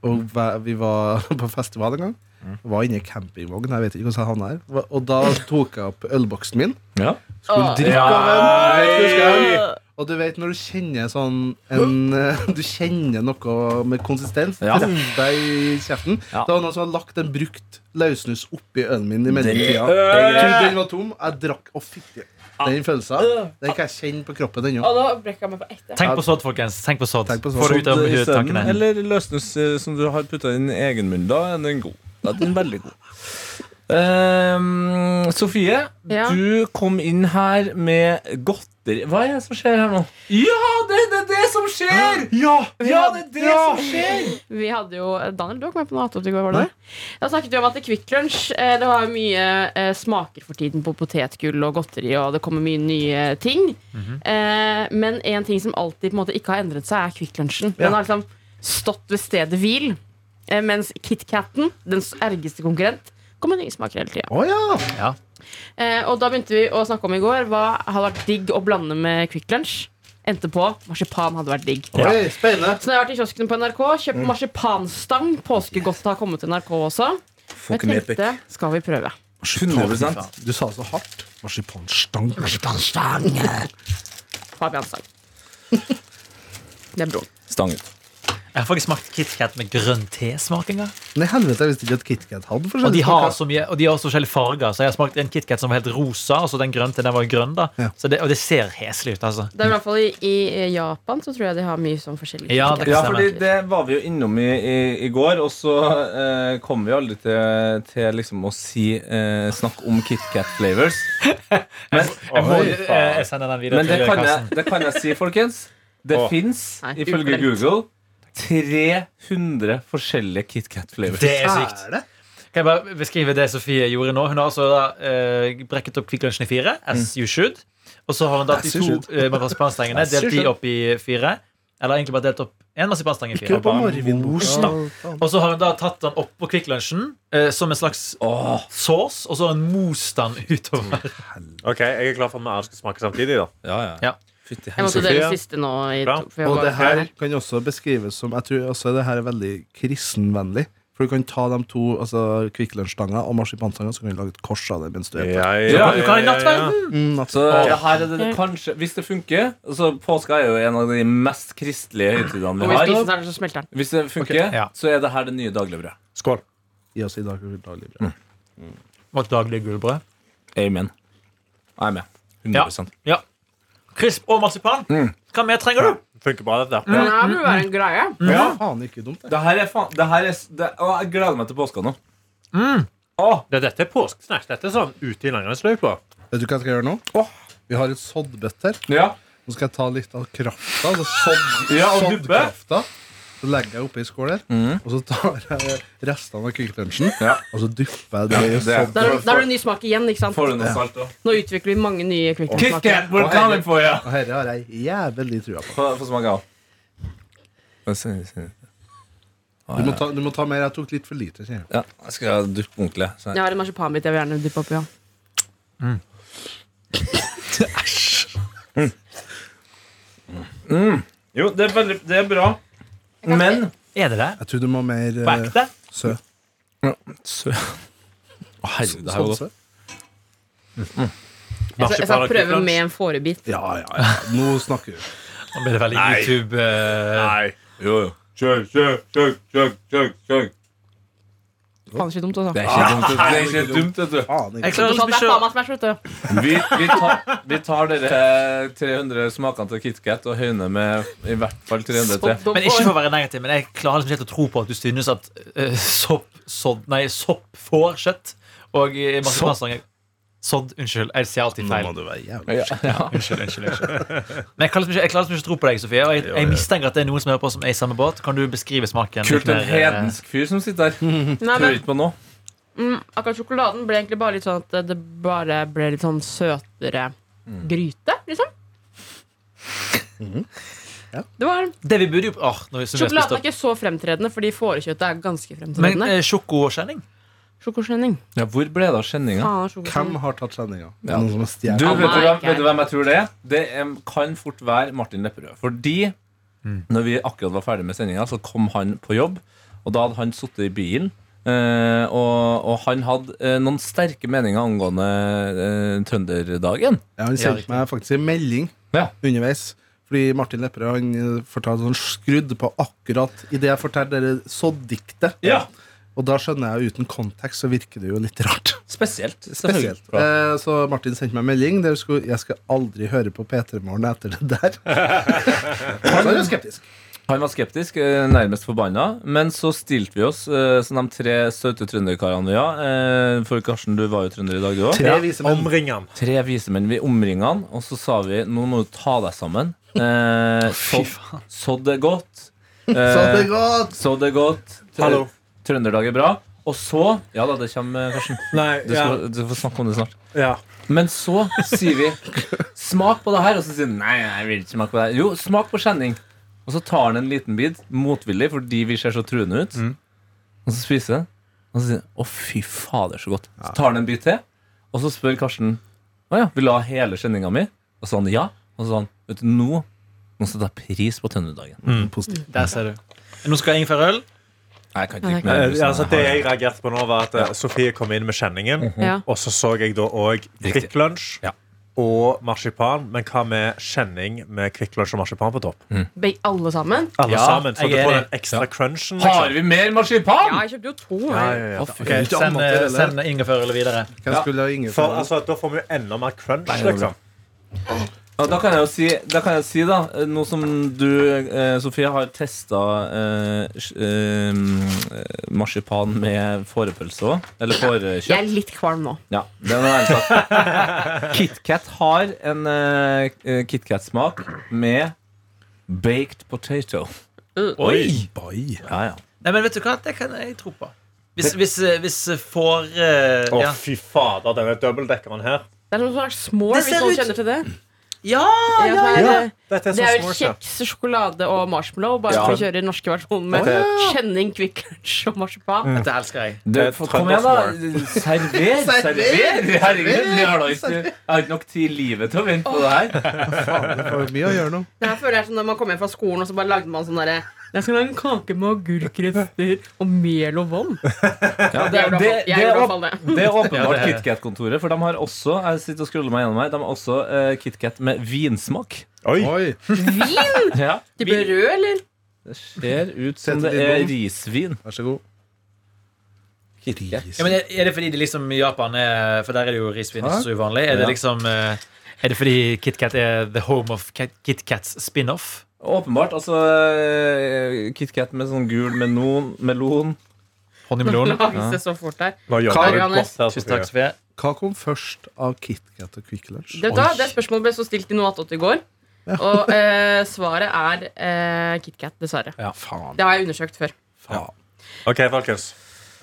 E: og væ- Vi var på festival en gang.
C: Mm.
E: Var inne i campingvogn. Jeg vet ikke hvordan jeg havna her. Va- Og da tok jeg opp ølboksen min.
C: Ja.
E: Skulle drikke av den. Jeg vet ikke hvordan jeg havna. Og du vet når du kjenner sånn en, eh, Du kjenner noe med konsistens
C: Ja.
E: Det sitter i kjeften.
C: Ja.
E: Det var noen som hadde lagt en brukt løssnus oppi ølen min i mellomtida.
C: Det-
E: Jeg trodde Den var tom. Jeg drakk Å, fytti. Den følelsen Den kan jeg kjenne på kroppen ennå.
G: Og da brekker jeg meg på ett.
F: Tenk på sodd, folkens. Tenk på sodd.
E: Tenk på sodd.
F: Få det ut av
C: eh, I søvnen,
F: tankene.
C: Eller løssnus eh, som du har putta i din egen munn. Da er den god. Da er den veldig god. Ehm, Sofie,
G: Ja.
C: du kom inn her med godteri. Hva er det som skjer her nå? Ja, det, er det som skjer!
H: Ja!
C: Ja, det er det som skjer!
G: Vi hadde jo Daniel, du var ikke med på noe attåt i går, var du det? Da snakket vi om at i Kvikk Lunsj eh, det var mye eh, smaker for tiden på potetgull og godteri, og det kommer mye nye ting.
E: Mhm.
G: eh, men en ting som alltid på en måte ikke har endret seg, er Kvikk Lunsjen. Den har liksom stått ved stedet hvil, eh, mens KitKatten, dens ergeste konkurrent, kommer nye smaker hele tida.
E: Å ja!
G: Eh, og da begynte vi å snakke om i går hva hadde vært digg å blande med Kvikk Lunsj. Endte på marsipan hadde vært digg.
E: Oi, spennende.
G: Så nå har jeg vært i kiosken på NRK, kjøpt marsipanstang. Påskegodt har kommet til NRK også. Jeg tenkte, skal vi prøve?
C: 100
E: Du sa så hardt. Marsipanstang.
G: Fabian-stang. Det er broren.
C: Stang ut.
F: Jeg har faktisk smakt KitKat med grønn te-smak en gang.
E: Nei, helvete, jeg visste ikke at KitKat hadde
F: Og de
E: forskjellige
F: har
E: smaker.
F: så mye, og de har også forskjellige farger. Så jeg har smakt en KitKat som var helt rosa, og så den grønne til den var jo grønn. da
E: Ja.
F: så det, Og det ser heslig ut, altså.
G: Det er i hvert fall i, i Japan så tror jeg de har mye sånn forskjellig
F: Ja, det
C: Ja,
F: stemmer.
C: fordi det var vi jo innom i, i, i går, og så eh, kom vi aldri til, til liksom å si eh, snakk om KitKat flavors. Men,
F: Jeg, må,
C: Oi,
F: eh,
C: faen.
F: jeg sender den videre
C: Men det
F: til
C: kan, jeg,
F: Karsten.
C: det kan jeg si, folkens. Det
H: Åh.
C: finnes
G: Nei,
C: ifølge
G: uglemt.
C: Google, 300 forskjellige KitKat flavors.
F: Det er sykt.
E: Er det?
F: Kan jeg bare beskrive det Sofie gjorde nå? Hun har altså da, eh, brekket opp Kvikk Lunsjen i fire,
H: Mm.
F: as you should. Og så har hun da de
E: As you
F: to eh, marsipanstengene,
E: As you
F: delt de
E: should.
F: opp i fire. Eller egentlig bare delt opp én marsipanstang i
E: Ikke
F: fire.
E: på Marvin-boka.
F: Og så har hun da tatt den opp på Kvikk Lunsjen eh, som en slags sauce, og så har hun most den utover.
H: Ok, Jeg er klar for at vi alle skal smake samtidig. da
I: Ja,
F: Ja.
I: Fytti
G: Jeg måtte
I: helsike.
G: dele
H: Sofia.
G: siste nå. I
H: Bra.
G: to, for jeg
E: Og
G: var-
E: det her kan også beskrives som Jeg tror også det her er veldig kristenvennlig. For du kan ta de to altså, Kvikk Lunsj-stanga og marsipanstanga, så kan du lage et kors av det mens du er på.
F: ja, du kan ha i nattverden!
E: Mm, at-
C: Så ja, her er det kanskje Hvis det funker Så påska er jo en av de mest kristelige høytidene
G: Om
C: vi
G: vi
C: har.
G: spiser den, her, så smelter den.
C: Hvis det funker,
F: Ja.
C: så er det her det nye dagligbrød.
H: Skål.
E: Gi oss i dag og daglig brød.
F: Og et daglig gullbrød.
C: Amen. Jeg er med. 100
F: Ja. Krisp og marsipan. Hva mer trenger du?
H: Funker bra, dette.
G: Men det her burde være en greie.
E: Mm. Faen, ikke dumt. Det.
C: Det her er faen det her er, s- det, å, Jeg gleder meg til påska nå.
H: Det, dette er påskesnacks. Dette er sånn ute i langrennsløypa.
E: Vet du hva jeg skal gjøre nå? Vi har et soddbøtt her.
C: Ja.
E: Nå skal jeg ta litt av krafta. Altså sodd,
C: Ja, og dubbe.
E: soddkrafta. Så legger jeg oppi ei skål her, og så tar jeg restene av Kvikk Lunsjen,
C: Ja.
E: og så dypper jeg det i sånn.
C: Ja, det-
E: sodd.
G: Da er det- da er det en ny smak igjen. ikke sant?
C: Mm. Får du noe salt òg?
G: Nå utvikler vi mange nye Kvikk Lunsj-smaker.
C: KitKat, we're coming for you!
E: Og dette har jeg jævlig trua på.
C: Få få smake av.
E: Du må, ta, du må ta mer. Jeg tok litt for lite. kjenner jeg.
C: Ja, jeg skal duppe ordentlig.
G: Jeg har en marsipanbit jeg vil gjerne dyppe oppi. Ja.
C: Jo, det er, veldig, det er bra. Men
F: Er det det?
E: Jeg tror du må mer
F: På
E: eh,
F: ekte?
E: sø.
C: Sø. Å, herregud, det her var godt.
E: Sodsø.
G: Jeg skal, jeg skal prøve med en fårebit.
E: Ja, ja, ja. Nå snakker du.
F: Nå blir det veldig
H: Nei.
F: YouTube. eh,
H: Nei.
C: Jo, jo. Kjør, kjør, kjør, kjør, kjør, kjør.
G: Faen, ikke dumt, altså.
C: Det er ikke dumt, vet du. det er ikke dumt vet du.
E: Faen,
F: Jeg
E: ikke.
G: Det
F: klarer liksom å
G: er sånn, det er
F: spise
G: faen meg smash, vet du.
C: Vi, vi, tar, vi tar dere 300 smakene til KitKat og høyner med i hvert fall 300 til.
G: Sodd og
F: Men ikke for
G: får.
F: å være negativ, men jeg klarer liksom ikke helt å tro på at du synes at eh, sopp, sodd, nei, sopp får kjøtt. Og eh, marsipanstang er- Sodd, unnskyld. Jeg sier alltid
E: Nå
F: feil.
E: må du være jævlig
C: Ja, ja.
F: Unnskyld, unnskyld, unnskyld. Men jeg klarer liksom ikke, jeg klarer liksom ikke å tro på deg, Sofie. Og jeg, jeg mistenker at det er noen som hører på som er i samme båt. Kan du beskrive smaken?
C: Kult,
F: litt mer,
C: en
F: eh,
C: hedensk fyr som sitter her.
G: Nei,
C: Tror
G: men
C: ikke på noe.
G: mm, akkurat sjokoladen ble egentlig bare litt sånn at det bare ble litt sånn søtere gryte, liksom.
E: Ja.
G: Det var,
F: Det vi burde jo Åh, når vi som vi har spist
G: sjokoladen er
F: opp.
G: ikke så fremtredende, fordi fårekjøttet er ganske
F: Men
G: fremtredende.
F: eh, sjokokjenning?
G: Sjokosjenning.
C: Ja, hvor ble det av skjenninga?
E: Hvem
G: Faen, sjokosjenning.
E: har tatt sendinga?
C: Ja.
E: Noen som har
C: Du,
E: stjålet?
C: vet, du
G: Nei,
C: hvem,
G: ikke jeg.
C: vet du hvem jeg tror det er? Det em, kan fort være Martin Lepperød. Fordi
E: Mm.
C: når vi akkurat var ferdig med sendinga, så kom han på jobb. Og da hadde han sittet i bilen. eh, og, og han hadde eh, noen sterke meninger angående eh, trønderdagen.
E: Ja, han
F: Ja,
E: sendte
F: riktig.
E: meg faktisk en melding
C: Ja.
E: underveis. Fordi Martin Lepperød han eh, fortalte sånn skrudd på akkurat idet jeg fortalte dere soddiktet.
C: Ja.
E: Og da skjønner jeg jo uten kontekst, så virker det jo litt rart.
C: Spesielt. selvfølgelig.
E: Spesielt. Eh, så Martin sendte meg en melding der det skulle, jeg skal aldri høre på P3 Morgen etter det der. så er jeg skeptisk.
C: Han var skeptisk, eh, nærmest forbanna. Men så stilte vi oss, eh, som de tre søte trønderkarene vi var. eh, For Karsten, du var jo trønder i dag, du òg.
E: Tre vise menn.
H: Omring han.
C: Tre visemenn. Vi omringa han, og så sa vi nå må du ta deg sammen. Eh, så, så det godt.
E: Så det
C: Eh,
E: går.
C: så det godt. Tr-
H: Hallo.
C: Trønderdag er bra. Og så Ja da, det kommer, eh, Karsten.
H: Nei,
C: Du, skal, du får snakke om det snart.
H: ja.
C: Men så sier vi smak på det her, og så sier han nei, nei, jeg vil ikke smake på det her. Jo, smak på skjenning. Og så tar han en liten bit, motvillig, fordi vi ser så truende ut. Og så spiser han, og så sier han å, fy fader, så godt. Så tar han en bit til, og så spør Karsten å ja, vil du ha hele skjenninga mi? Og så han ja. Og så sa han vet du, nå må jeg ta pris på Trønderdagen.
E: Positivt.
F: Der ser du. Nå skal jeg inn for øl.
C: Nei, Jeg kan ikke drikke
G: Nei,
C: mer.
H: Eh,
C: brus enn
H: altså,
C: jeg
H: det
C: har.
H: jeg reagerte
G: Mhm.
H: på nå, var at eh, Sofie kom inn med kjenningen.
G: Ja.
H: Og så så jeg da òg Kvikk Lunsj.
C: Ja.
H: og marsipan, men hva med kjenning med Kvikk Lunsj og marsipan på topp?
G: Be- Alle sammen?
H: Alle
I: Ja,
H: sammen, så
I: jeg
H: du
I: er
H: får
I: enig.
H: den ekstra crunchen. liksom.
C: Har vi mer
G: Ja,
C: marsipan?
G: jeg kjøpte jo to. jeg.
I: Å, fy.
E: Ikke
F: Eh, Send,
E: annet
C: eh,
E: til det der.
F: send Ingefær eller videre.
E: Hvem skulle ha ingefær?
H: For, altså, da får vi jo enda mer crunch,
I: Nei,
H: liksom.
C: Ja, da kan jeg jo si, da, kan jeg si da eh, nå som du, eh, Sofie, har testa eh, sj- eh, marsipan med fårepølse òg. Eller
G: Jeg
C: fårekjøtt.
G: er litt kvalm nå.
C: Ja, det var ærlig talt. KitKat har en uh, KitKat-smak med baked potato. Mm.
F: Oi!
C: Ja, ja.
F: Nei, men vet du hva? Det kan jeg tro på. Hvis, hvis, eh, hvis eh, får eh,
H: Å,
F: ja.
H: fy fader, denne dobbeltdekkeren her.
G: Det er noe slags small,
F: Det
G: hvis
F: ser
G: noen
F: ut-
G: kjenner til det.
F: ja!
G: Ja, så er det-
H: Dette er
G: Det
H: så
G: er vel
H: smart. ja.
G: kjeks, sjokolade og marshmallow. Bare
C: Ja.
G: for å kjøre den norske versjonen med kjenning, Kvikk Lunsj og marsipan.
F: Dette elsker jeg.
C: Du,
H: Det er
C: for,
H: trøndersk
C: kom igjen, da. Server! Server! Herregud, vi har da ikke, jeg har ikke nok tid i livet til å vente på det her.
E: Det var mye å gjøre nå.
G: Det her føler jeg er sånn når man kom hjem fra skolen og så bare lagde man sånn derre Jeg skal lage en kake med agurkrester og mel og vann.
C: Ja,
G: Jeg gjorde i hvert fall-
C: det-
G: jeg
C: det
G: gjorde i
C: er
G: hvert fall det.
C: Det er
F: Ja,
C: åpenbart
F: det er det.
C: KitKat-kontoret, for de har også jeg sitter og scroller meg gjennom her, de har også eh, KitKat med vinsmak.
H: Oi.
E: Oi.
G: Vin?
C: Ja,
G: De blir røde, eller?
C: Det ser ut som
E: Setter
C: det
E: litt
C: er
E: blom.
C: risvin.
E: Vær så god.
F: Ja, men er er det fordi de liksom i Japan er For der er det jo risvin ikke så uvanlig. Er det
C: Ja.
F: liksom eh, Er det fordi KitKat er the home of Kit- KitKats spin-off?
C: Åpenbart. Altså eh, KitKat med sånn gul melon, melon.
F: Honningmelon?
G: Lages det så fort der?
H: Nå
G: Hva er
H: gjør
G: det,
H: du
G: Johannes?
H: godt her,
F: Tusen takk,
H: Sofie.
F: Sofie.
E: Hva kom først av KitKat og Quick Lunch?
G: Det, da, det spørsmålet ble så stilt i noe attåt i går. Og eh, svaret er eh, KitKat, dessverre.
E: Faen.
G: Det har jeg undersøkt før.
H: OK, folkens.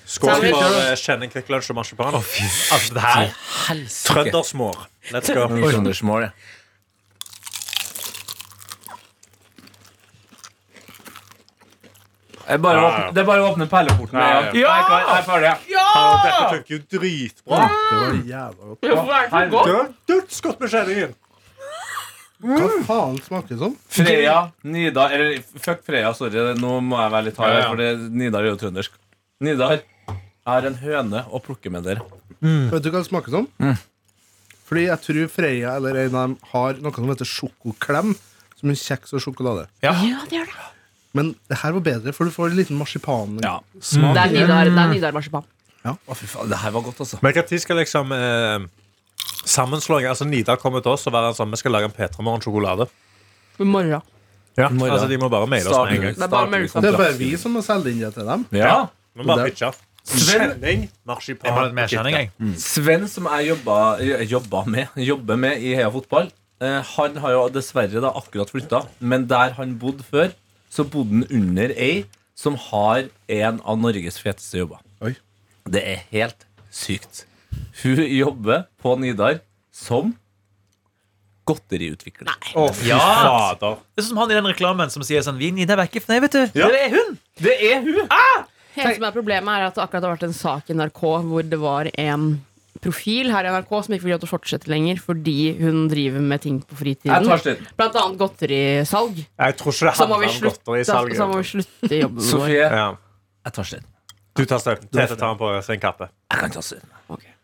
H: Skål
G: Sandwich.
H: for eh, kjenning, Kvikk Lunsj og marsipan.
F: Altså, det her
H: Trøndersmår. Let's go.
C: Trøndersmål, ja. Jeg bare åpner, det er bare å åpne perleporten med en gang.
F: Ja!
C: Her er klar, her er ferdig, ja.
H: Dette funker jo dritbra.
E: Det var jævla godt.
G: Hvorfor er det så godt?
H: Det er Dødsgodt med kjenningen.
E: Hva faen smaker det som?
C: Freya, Nidar Eller fuck Freya, sorry. Nå må jeg være litt hard,
H: Ja, ja.
C: for det- Nidar er jo trøndersk. Nidar, jeg har en høne å plukke med dere. Mm.
E: Vet du hva det smaker som? Fordi jeg tror Freia eller en av dem har noe som heter sjokoklem. Som en kjeks og sjokolade.
G: Ja, det gjør det.
E: Men det her var bedre, for du får en liten marsipansmak.
C: Ja.
G: Det er Nidar, det er Nidar marsipan.
C: Å, fy faen, det her var godt, altså.
H: Men når skal liksom eh, sammenslåing Altså Nidar kommer til oss og være en sånn Vi skal lage en P3 Morgen-sjokolade.
G: I morgen.
H: Ja, altså De må bare maile oss med en gang.
G: Det er bare melk.
E: Det er bare vi som må selge inn det til dem.
C: Ja.
H: Vi må bare pitche. Kjenning,
F: Jeg har
H: marsipan
F: litt mer kjenning, jeg.
C: Sven, som jeg jobba, jobba med, jobber med i Heia Fotball, eh, han har jo dessverre da akkurat flytta, men der han bodde før, så bodde han under ei som har en av Norges feteste jobber.
E: Oi.
C: Det er helt sykt. Hun jobber på Nidar som godteriutvikler.
H: Å, fy
F: Ja.
H: fader.
F: Det er sånn som han i den reklamen som sier sånn Vi gir deg vekk. Nei, vet du.
H: Ja.
F: Det er hun!
C: Det er hun!
G: Det som er problemet er at det akkurat har vært en sak i NRK hvor det var en profil her i NRK som ikke fikk lov til å fortsette lenger fordi hun driver med ting på
C: Jeg tar
G: fritiden.
C: slutten.
G: Blant annet godterisalg.
H: Jeg tror ikke det
G: Så må
H: handler
G: vi
H: om
G: slutte,
H: godteri i salget.
G: så må vi slutte jobben vår.
C: Sofie,
H: Ja.
C: jeg tar slutten.
H: Du tar støv. Tete tar den på sin kappe.
C: Jeg kan ta slutten.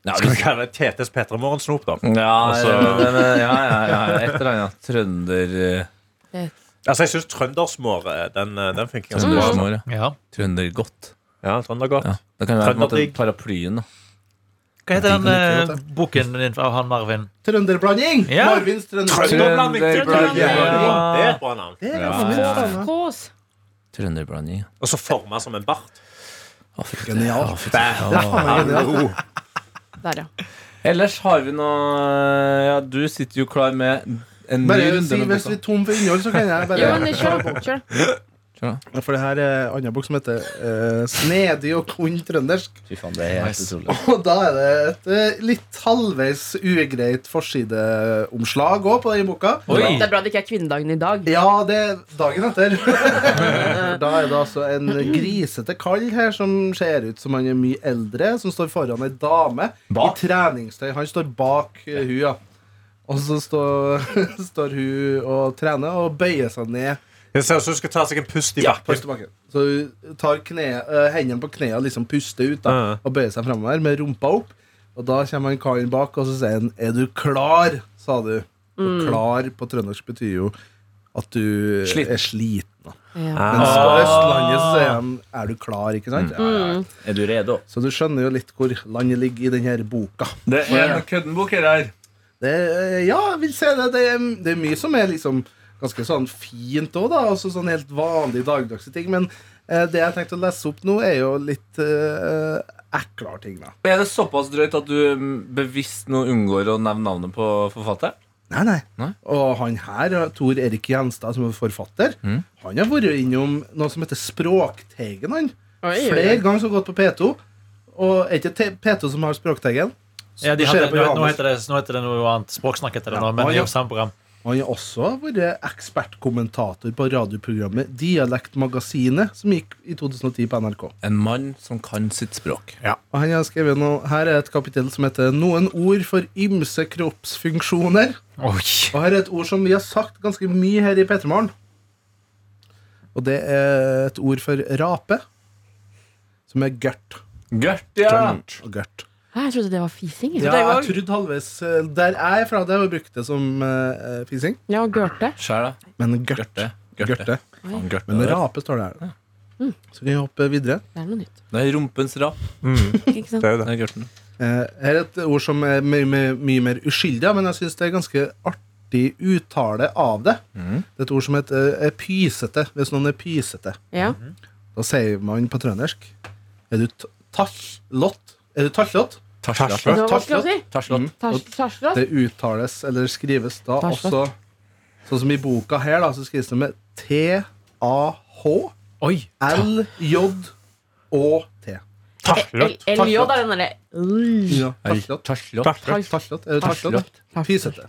C: Ja,
H: Skal vi kalle det Tetes P3 Morgen-snop, da?
C: ja,
H: Altså-
C: men- men- ja, ja, ja. Et eller annet trønder... eh,
H: Altså, jeg syns trøndersmår eh, den, eh, den funker ganske bra.
C: Trøndersmår, ja.
F: Ja.
C: Trøndergodt.
H: Ja, trøndergodt.
C: Ja. Det kan være på en måte
H: Trønderdigg.
C: paraplyen. da
F: Hva heter den
E: liker
F: eh,
E: godt,
F: boken din fra han Marvin?
E: Trønderblanding!
F: Ja.
E: Marvins trønderblanding.
H: Trønderblanding.
C: Trønderblanding.
H: Trønderblanding. Det er et bra navn.
E: Det er
C: Ja,
E: Marvins
C: ja.
E: trønderblanding.
G: Kås.
C: Trønderblanding. ja.
H: Og så forma som en bart.
C: Å, fy faen.
E: Genialt.
C: Å, fy faen. Å.
H: Hallo.
G: Der, ja.
C: Ellers har vi noe Ja, du sitter jo klar med en ny
E: Bare
C: runde
E: si
C: med
E: hvis vi
C: boka.
E: er tom for innhold, så kan jeg
G: Jo, men
E: bare
G: kjør, kjør.
E: For det her er en annen bok som heter eh, 'Snedig og kun trøndersk'.
C: Fy faen, det er helt utrolig.
E: Og da er det et eh, litt halvveis ugreit forsideomslag òg på den boka.
G: Det er bra det ikke er kvinnedagen i dag.
E: Ja, det er dagen etter. da er det altså en grisete kall her som ser ut som han er mye eldre, som står foran ei dame
C: Bak?
E: i treningstøy. Han står bak eh, hun, ja. Og så står, står hun og trener og bøyer seg ned.
H: Det ser ut som du skal ta seg en pust i
E: Ja,
H: bakken.
E: først tilbake. Så hun tar kne, eh, hendene på knærne og liksom puster ut da,
H: Ja.
E: og bøyer seg framover med rumpa opp. Og da kommer han karen bak og så sier han 'Er du klar?' sa du. Og 'klar' på trøndersk betyr jo at du
I: Sliten.
E: er sliten. da.
G: Ja.
E: Mens på Østlandet så sier han 'er du klar', ikke sant? Ja, ja, ja.
I: Er du redo?
E: Så du skjønner jo litt hvor landet ligger i denne boka.
C: Det er en køddenbok her. her.
E: Det, eh, ja, jeg vil se det. Det er, det er mye som er liksom ganske sånn fint òg, da. Også sånn helt vanlige dagligdagse ting. Men eh, det jeg tenkte å lese opp nå, er jo litt eh, ekler ting, da.
C: Er det såpass drøyt at du mm, bevisst nå unngår å nevne navnet på forfatteren?
E: Nei, nei.
C: Nei?
E: Og han her, Tor Erik Gjenstad, som er forfatter,
F: Mm.
E: han har vært innom noe som heter Språkteigen. han.
G: Oi, oi, oi.
E: Flere ganger så gått på P2. Og er ikke te- P2 som har Språkteigen?
F: Ja, de
E: Så skjer det
F: hadde,
E: på
F: nå, nå,
E: Johannes.
F: heter det, nå heter det noe annet. Språksnakk heter det
E: Ja,
F: nå, men
E: og
F: det er
E: ja.
F: jo samme program.
E: Og Han har også vært ekspertkommentator på radioprogrammet Dialektmagasinet, som gikk i 2010 på NRK.
I: En mann som kan sitt språk.
E: Og han har skrevet noe, Her er et kapittel som heter 'Noen ord for ymse kroppsfunksjoner'.
F: Oi.
E: Og her er et ord som vi har sagt ganske mye her i Petermorgen. Og det er et ord for rape, som er gørt.
C: Gørt, ja.
E: Og gørt.
G: Hæ, Ah, Jeg trodde det var fising. jeg.
E: Ja, jeg trodde halvveis eh, Der jeg er fra, det har jeg brukt det som eh, fising.
G: Ja, og Gørte.
I: Sjæl, da.
E: Men gørt.
I: Gørte.
E: Gørte.
I: Faen, gørte
E: Men
I: der.
E: rape står det her. Så kan vi hoppe videre.
G: Det er noe nytt.
I: Det er rumpens rap.
G: Ikke sant?
H: Det er jo
I: Det
H: det.
I: er gørten.
E: Eh, her er et ord som er mye, mye, mye mer uskyldig, men jeg syns det er ganske artig uttale av det. Det er et ord som heter eh, er pysete, hvis noen er pysete.
G: Ja.
E: Da sier man på trøndersk Er du t- tasslott? Er du tasslott?
G: Det
I: Tarslott.
G: var vanskelig å si.
E: Mm.
I: Tarslott.
G: Tars- Tarslott.
E: Det uttales eller skrives da
G: Tasslott.
E: også Sånn som i boka her, da, så skrives det med T-A-H-L-J-Å-T.
F: Oi.
G: L- LJ er den derre
E: Ja, tasslott.
I: Tarslott.
E: Tasslott. Er du tasslott? Pysete.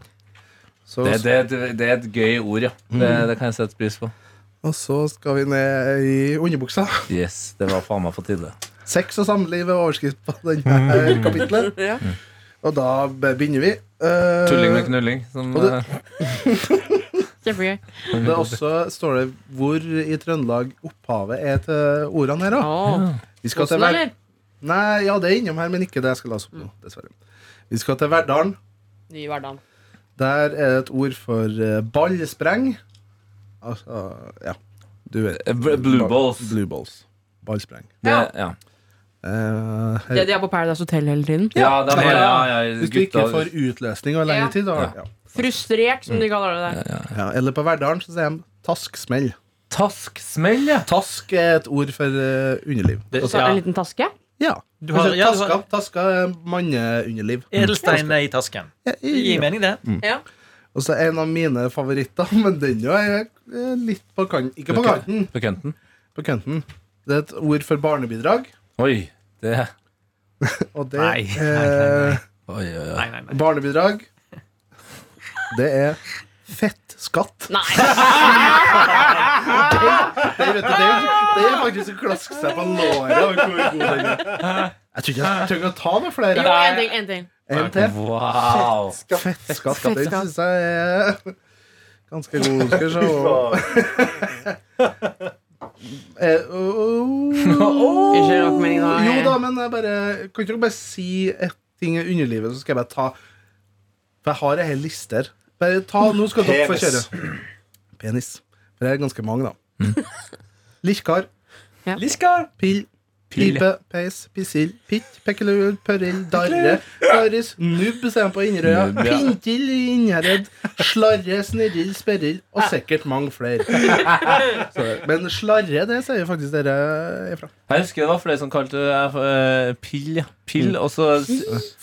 E: Så,
C: Det, det, det, det er et gøy ord, ja.
I: Det, det kan jeg sette pris på.
E: og så skal vi ned i underbuksa.
I: Yes, det var faen meg på tide.
E: Sex og samliv er overskrift på denne kapitlet. Og da begynner vi. Eh,
C: Tulling med knulling. Som,
E: Og det-
C: eh,
G: Kjempegøy.
E: Det er også står det hvor i Trøndelag opphavet er til ordene her. da
G: Åh.
E: Vi skal til
G: Åsen,
E: Ver
G: eller?
E: Nei, ja, det er innom her, men ikke det jeg skal lese opp nå. dessverre Vi skal til Verdalen.
G: Ny hverdag.
E: Der er det et ord for eh, ballspreng. Altså ja. Du vet.
I: Eh, bl- blue balls.
E: Blue balls. Ballspreng.
I: Det,
G: Ja.
I: ja.
E: Eh, her-
G: Det de har på Paradise Hotel hele tiden.
C: ja, de er, ja, ja,
E: hvis du ikke
C: gutta-
E: får utløsning over lengre
G: Ja.
E: tid, da. Ja.
G: Frustrert, som de kaller det der.
E: Ja. Eller på Verdalen så sier de tasksmell.
C: Tasksmell, ja.
E: Task er et ord for eh, underliv.
F: Det,
G: Så er det en
F: ja.
G: liten taske.
E: Ja.
F: Du har- ja, du har-
E: taska, taska er manneunderliv.
F: Edelstein er i tasken.
E: Ja,
F: Det gir mening, det.
G: Ja.
E: Og så en av mine favoritter, men den jo er eh, litt på kanten. Ikke på
I: Ok.
E: kanten,
I: På kønten.
E: på kanten. Det er et ord for barnebidrag,
I: Oi. Det
E: og det
F: Nei, nei, nei,
E: er
I: Oi, oi, oi.
F: Nei, nei, nei.
E: barnebidrag. Det er fettskatt.
G: Nei!
E: Det, vet du, det, er- det er faktisk å klaske seg på låret. og hvor god den er. Jeg tror ikke jeg trenger å ta med
G: Jo,
E: flere.
G: en ting. En ting.
E: En til.
I: Wow.
E: Fettskatt. Den syns jeg er ganske god. Skal vi se Eh, oh,
G: Ikke rockmelding nå.
E: Jo da, men jeg bare Kan ikke dere bare si et ting i underlivet, så skal jeg bare ta For jeg har ei hel liste her. Bare ta, nå skal dere få
H: Penis.
E: kjøre. Penis. For det er ganske mange, da. Lirkar.
G: Ja.
E: Pill. Pipe, peis, pisil, pitt, pekkelul, pørrill, darre, karis, nubb, sier han på Inderøya,
I: Nubb, ja.
E: pintil i Innherred, slarre, snirrill, sperrill, og sikkert mange flere. Så, Men slarre, det sier faktisk dere ifra.
I: Jeg husker det var flere som kalte det eh, pill. ja. Pill,
E: Mm.
I: og så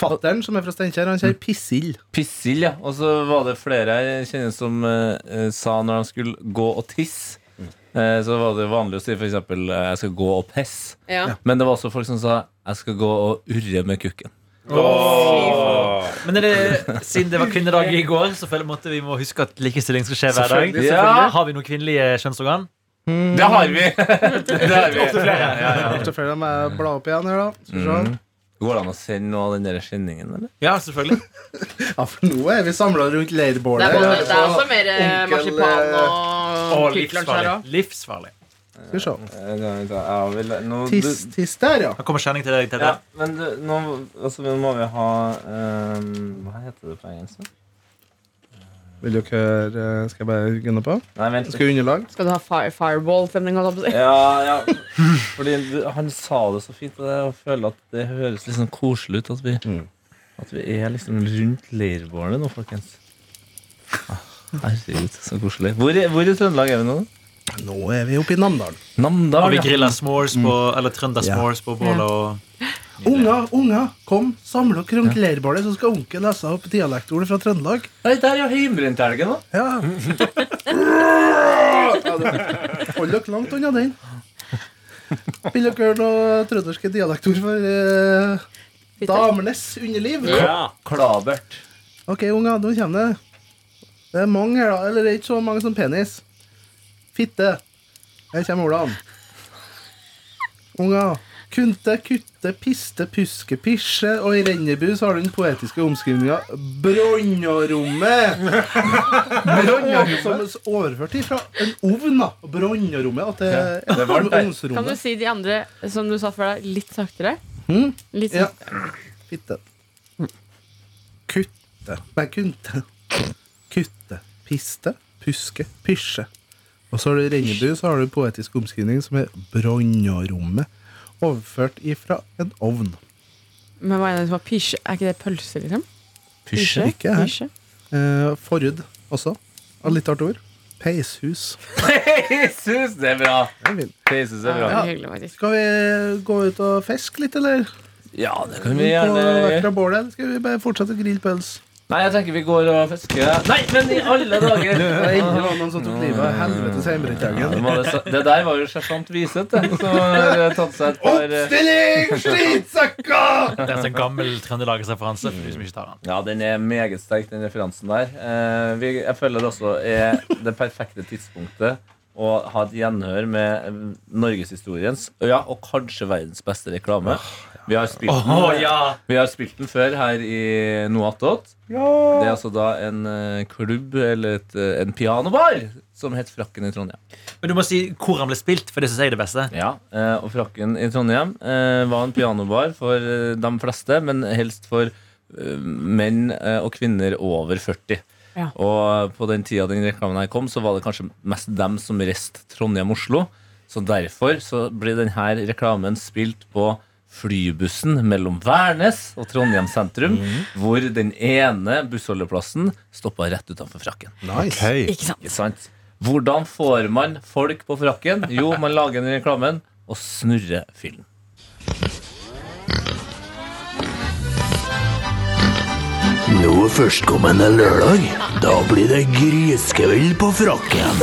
E: Fatteren som er fra Steinkjer, han sier pissill.
I: pissill, ja. Og så var det flere jeg kjenner som eh, eh, sa når de skulle gå og tisse eh, så var det vanlig å si f.eks. jeg skal gå og pisse.
G: Ja.
I: Men det var også folk som sa jeg skal gå og urre med kukken.
F: Men er det, siden det var kvinnedag i går, så føler jeg måtte vi må huske at likestilling skal skje hver dag.
E: Selvfølgelig,
F: Ja. Har vi noen kvinnelige kjønnsorgan?
C: Mm. Det har vi! Det har vi.
E: Ofte føler jeg meg bla opp igjen her, da. Skal vi se.
I: Mm. Går det an å sende noe av den der skinningen, eller?
F: Ja, selvfølgelig.
E: Ja, for nå er vi samla rundt
G: Det
E: leirbålet.
G: er, både, det er også mer eh,
E: Onkel,
G: marsipan og
F: Og
G: kvikklunch
F: livsfarlig.
G: her òg.
F: livsfarlig.
E: Skal vi se.
C: Ja, vi, nå, du,
E: Tiss, tiss der, ja.
F: Her kommer kjenning til deg,
C: ja,
F: Tete.
C: men du, nå, altså, nå må vi ha ehm, Hva heter det på engelsk? da?
E: Vil dere eh, Skal jeg bare gunne på?
C: Nei, vent.
E: Skal vi underlag?
G: Skal du ha fire, fireball-stemning? holdt jeg på å si?
C: Ja, ja. Fordi du, han sa det så fint, og jeg føler at det høres litt sånn koselig ut at vi, at vi er liksom rundt leirbålet nå, folkens. Ah, Herregud, så koselig. Hvor, i- hvor i Trøndelag er vi nå?
E: Nå er vi oppe i Namdalen.
F: Og
C: Namdal.
F: vi
C: ja.
F: griller s'mores på Eller
H: Mm,
F: trøndersmores på bålet og
E: Unger, unger, kom, samle dere rundt leirbålet, så skal onkel lese opp dialektordet fra Trøndelag.
C: Nei, der er jo heimbrentelgen, da.
E: Ja. Hold dere langt unna den. Vil dere høre noe trønderske dialektord for eh, damenes underliv?
C: Klabert.
E: Ok, unger, nå kommer det. Det er mange her, da. Eller det er ikke så mange som penis. Fitte. Her kommer ordene. Unger. Kunte, kutte, piste, puske, pisje, og i Rennebu så har du den poetiske omskrivninga Bronnarommet! Bronnarommet som er overført fra en ovn, da. Bronnarommet. At det
C: det er varmt der.
G: Kan du
E: ovnsrommet.
G: si de andre som du sa før deg, litt saktere?
E: Mm.
G: Litt sånn-
E: Ja.
G: saktere.
E: Fitte. Kutte. Nei, kunte. Kutte. Piste. Puske. Pysje. Og så har du Rennebu, så har du poetisk omskrivning som er Bronnarommet. Overført ifra en ovn.
G: Men hva er det som var liksom. pysje? Er ikke det pølse, liksom? Pysje?
E: Ikke her.
G: Pysje.
E: Eh, forhud også. Og litt artig ord. Peishus.
C: Jesus, det er bra.
E: Det er fint.
C: Jesus det er
G: Ja,
C: bra.
G: det er hyggelig, faktisk.
E: Skal vi gå ut og fiske litt, eller?
C: Ja, det kan vi
E: På
C: gjerne
E: vekk
C: gjøre.
E: fra bålet? eller Skal vi bare fortsette å grille pøls?
C: Nei, jeg tenker vi går og fisker. Nei, men i alle dager!
E: Det var endelig noen som tok livet av helvetes
C: Ja, det,
E: hjemmebrentdagen.
C: må det, så- det der var jo sersjant Wiseth, det, som har tatt seg et par
E: Oppstilling! Slitsekker!
F: Det er en sånn gammel trøndelagsreferanse. for de som ikke tar den.
C: Ja, den er meget sterk, den referansen der. Eh, vi, jeg føler det også er det perfekte tidspunktet å ha et gjenhør med eh, norgeshistoriens ja, og kanskje verdens beste reklame. Vi har spilt den,
F: Å, ja.
C: vi har spilt den før her i Noatot. Det er altså da en eh, klubb eller et, eh, en pianobar som het Frakken i Trondheim.
F: Men du må si hvor han ble spilt, for det syns jeg er det beste.
C: Ja, eh, og frakken i Trondheim eh, var en pianobar for eh, de fleste, men helst for eh, menn eh, og kvinner over 40.
G: Ja.
C: Og på den tida den reklamen her kom, så var det kanskje mest dem som reiste Trondheim-Oslo. Så derfor så ble denne reklamen spilt på flybussen mellom Værnes og Trondheim sentrum, hvor den ene bussholdeplassen stoppa rett utenfor frakken.
E: Nice.
G: Ikke sant?
C: Ikke sant? Hvordan får man folk på frakken? Jo, man lager den reklamen og snurrer fyllen.
B: Nå førstkommende lørdag, da blir det griskveld på frakken.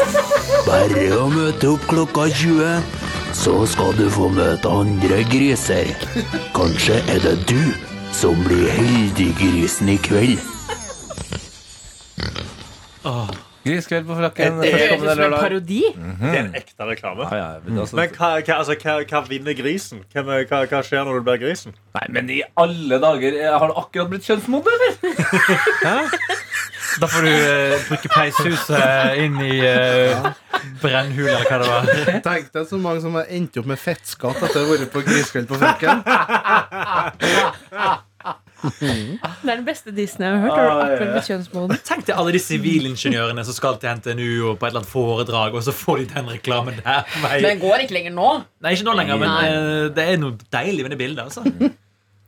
B: Bare å møte opp klokka 20, så skal du få møte andre griser. Kanskje er det du som blir heldiggrisen i kveld.
C: Griskveld på frakken
G: Det Mm. høres ut
C: førstkommende
G: som en
C: lørdag.
G: parodi.
H: Det er en ekte reklame.
C: Eh, Ja, ja, men altså,
H: Men hva, hva, altså, hva, hva vinner grisen? Hvem er- hva, hva skjer når du blir grisen?
C: nei, men i alle dager, jeg har du akkurat blitt kjønnsmoden, eller?
F: Da får du eh, bruke peishuset inn i eh, brennhul, eller hva det var.
E: Tenk deg så mange som har endt opp med fettskatt etter å ha vært på griskveld på Frøken.
G: Det er den beste Disney jeg har hørt. Har du akkurat blitt kjønnsmoden?
F: Tenk til alle de sivilingeniørene som skal til NTNU og på et eller annet foredrag, og så får de den reklamen der. Nei,
G: Den går ikke lenger nå.
F: Nei ikke nå lenger, men eh, det er noe deilig med det bildet, altså.
C: Det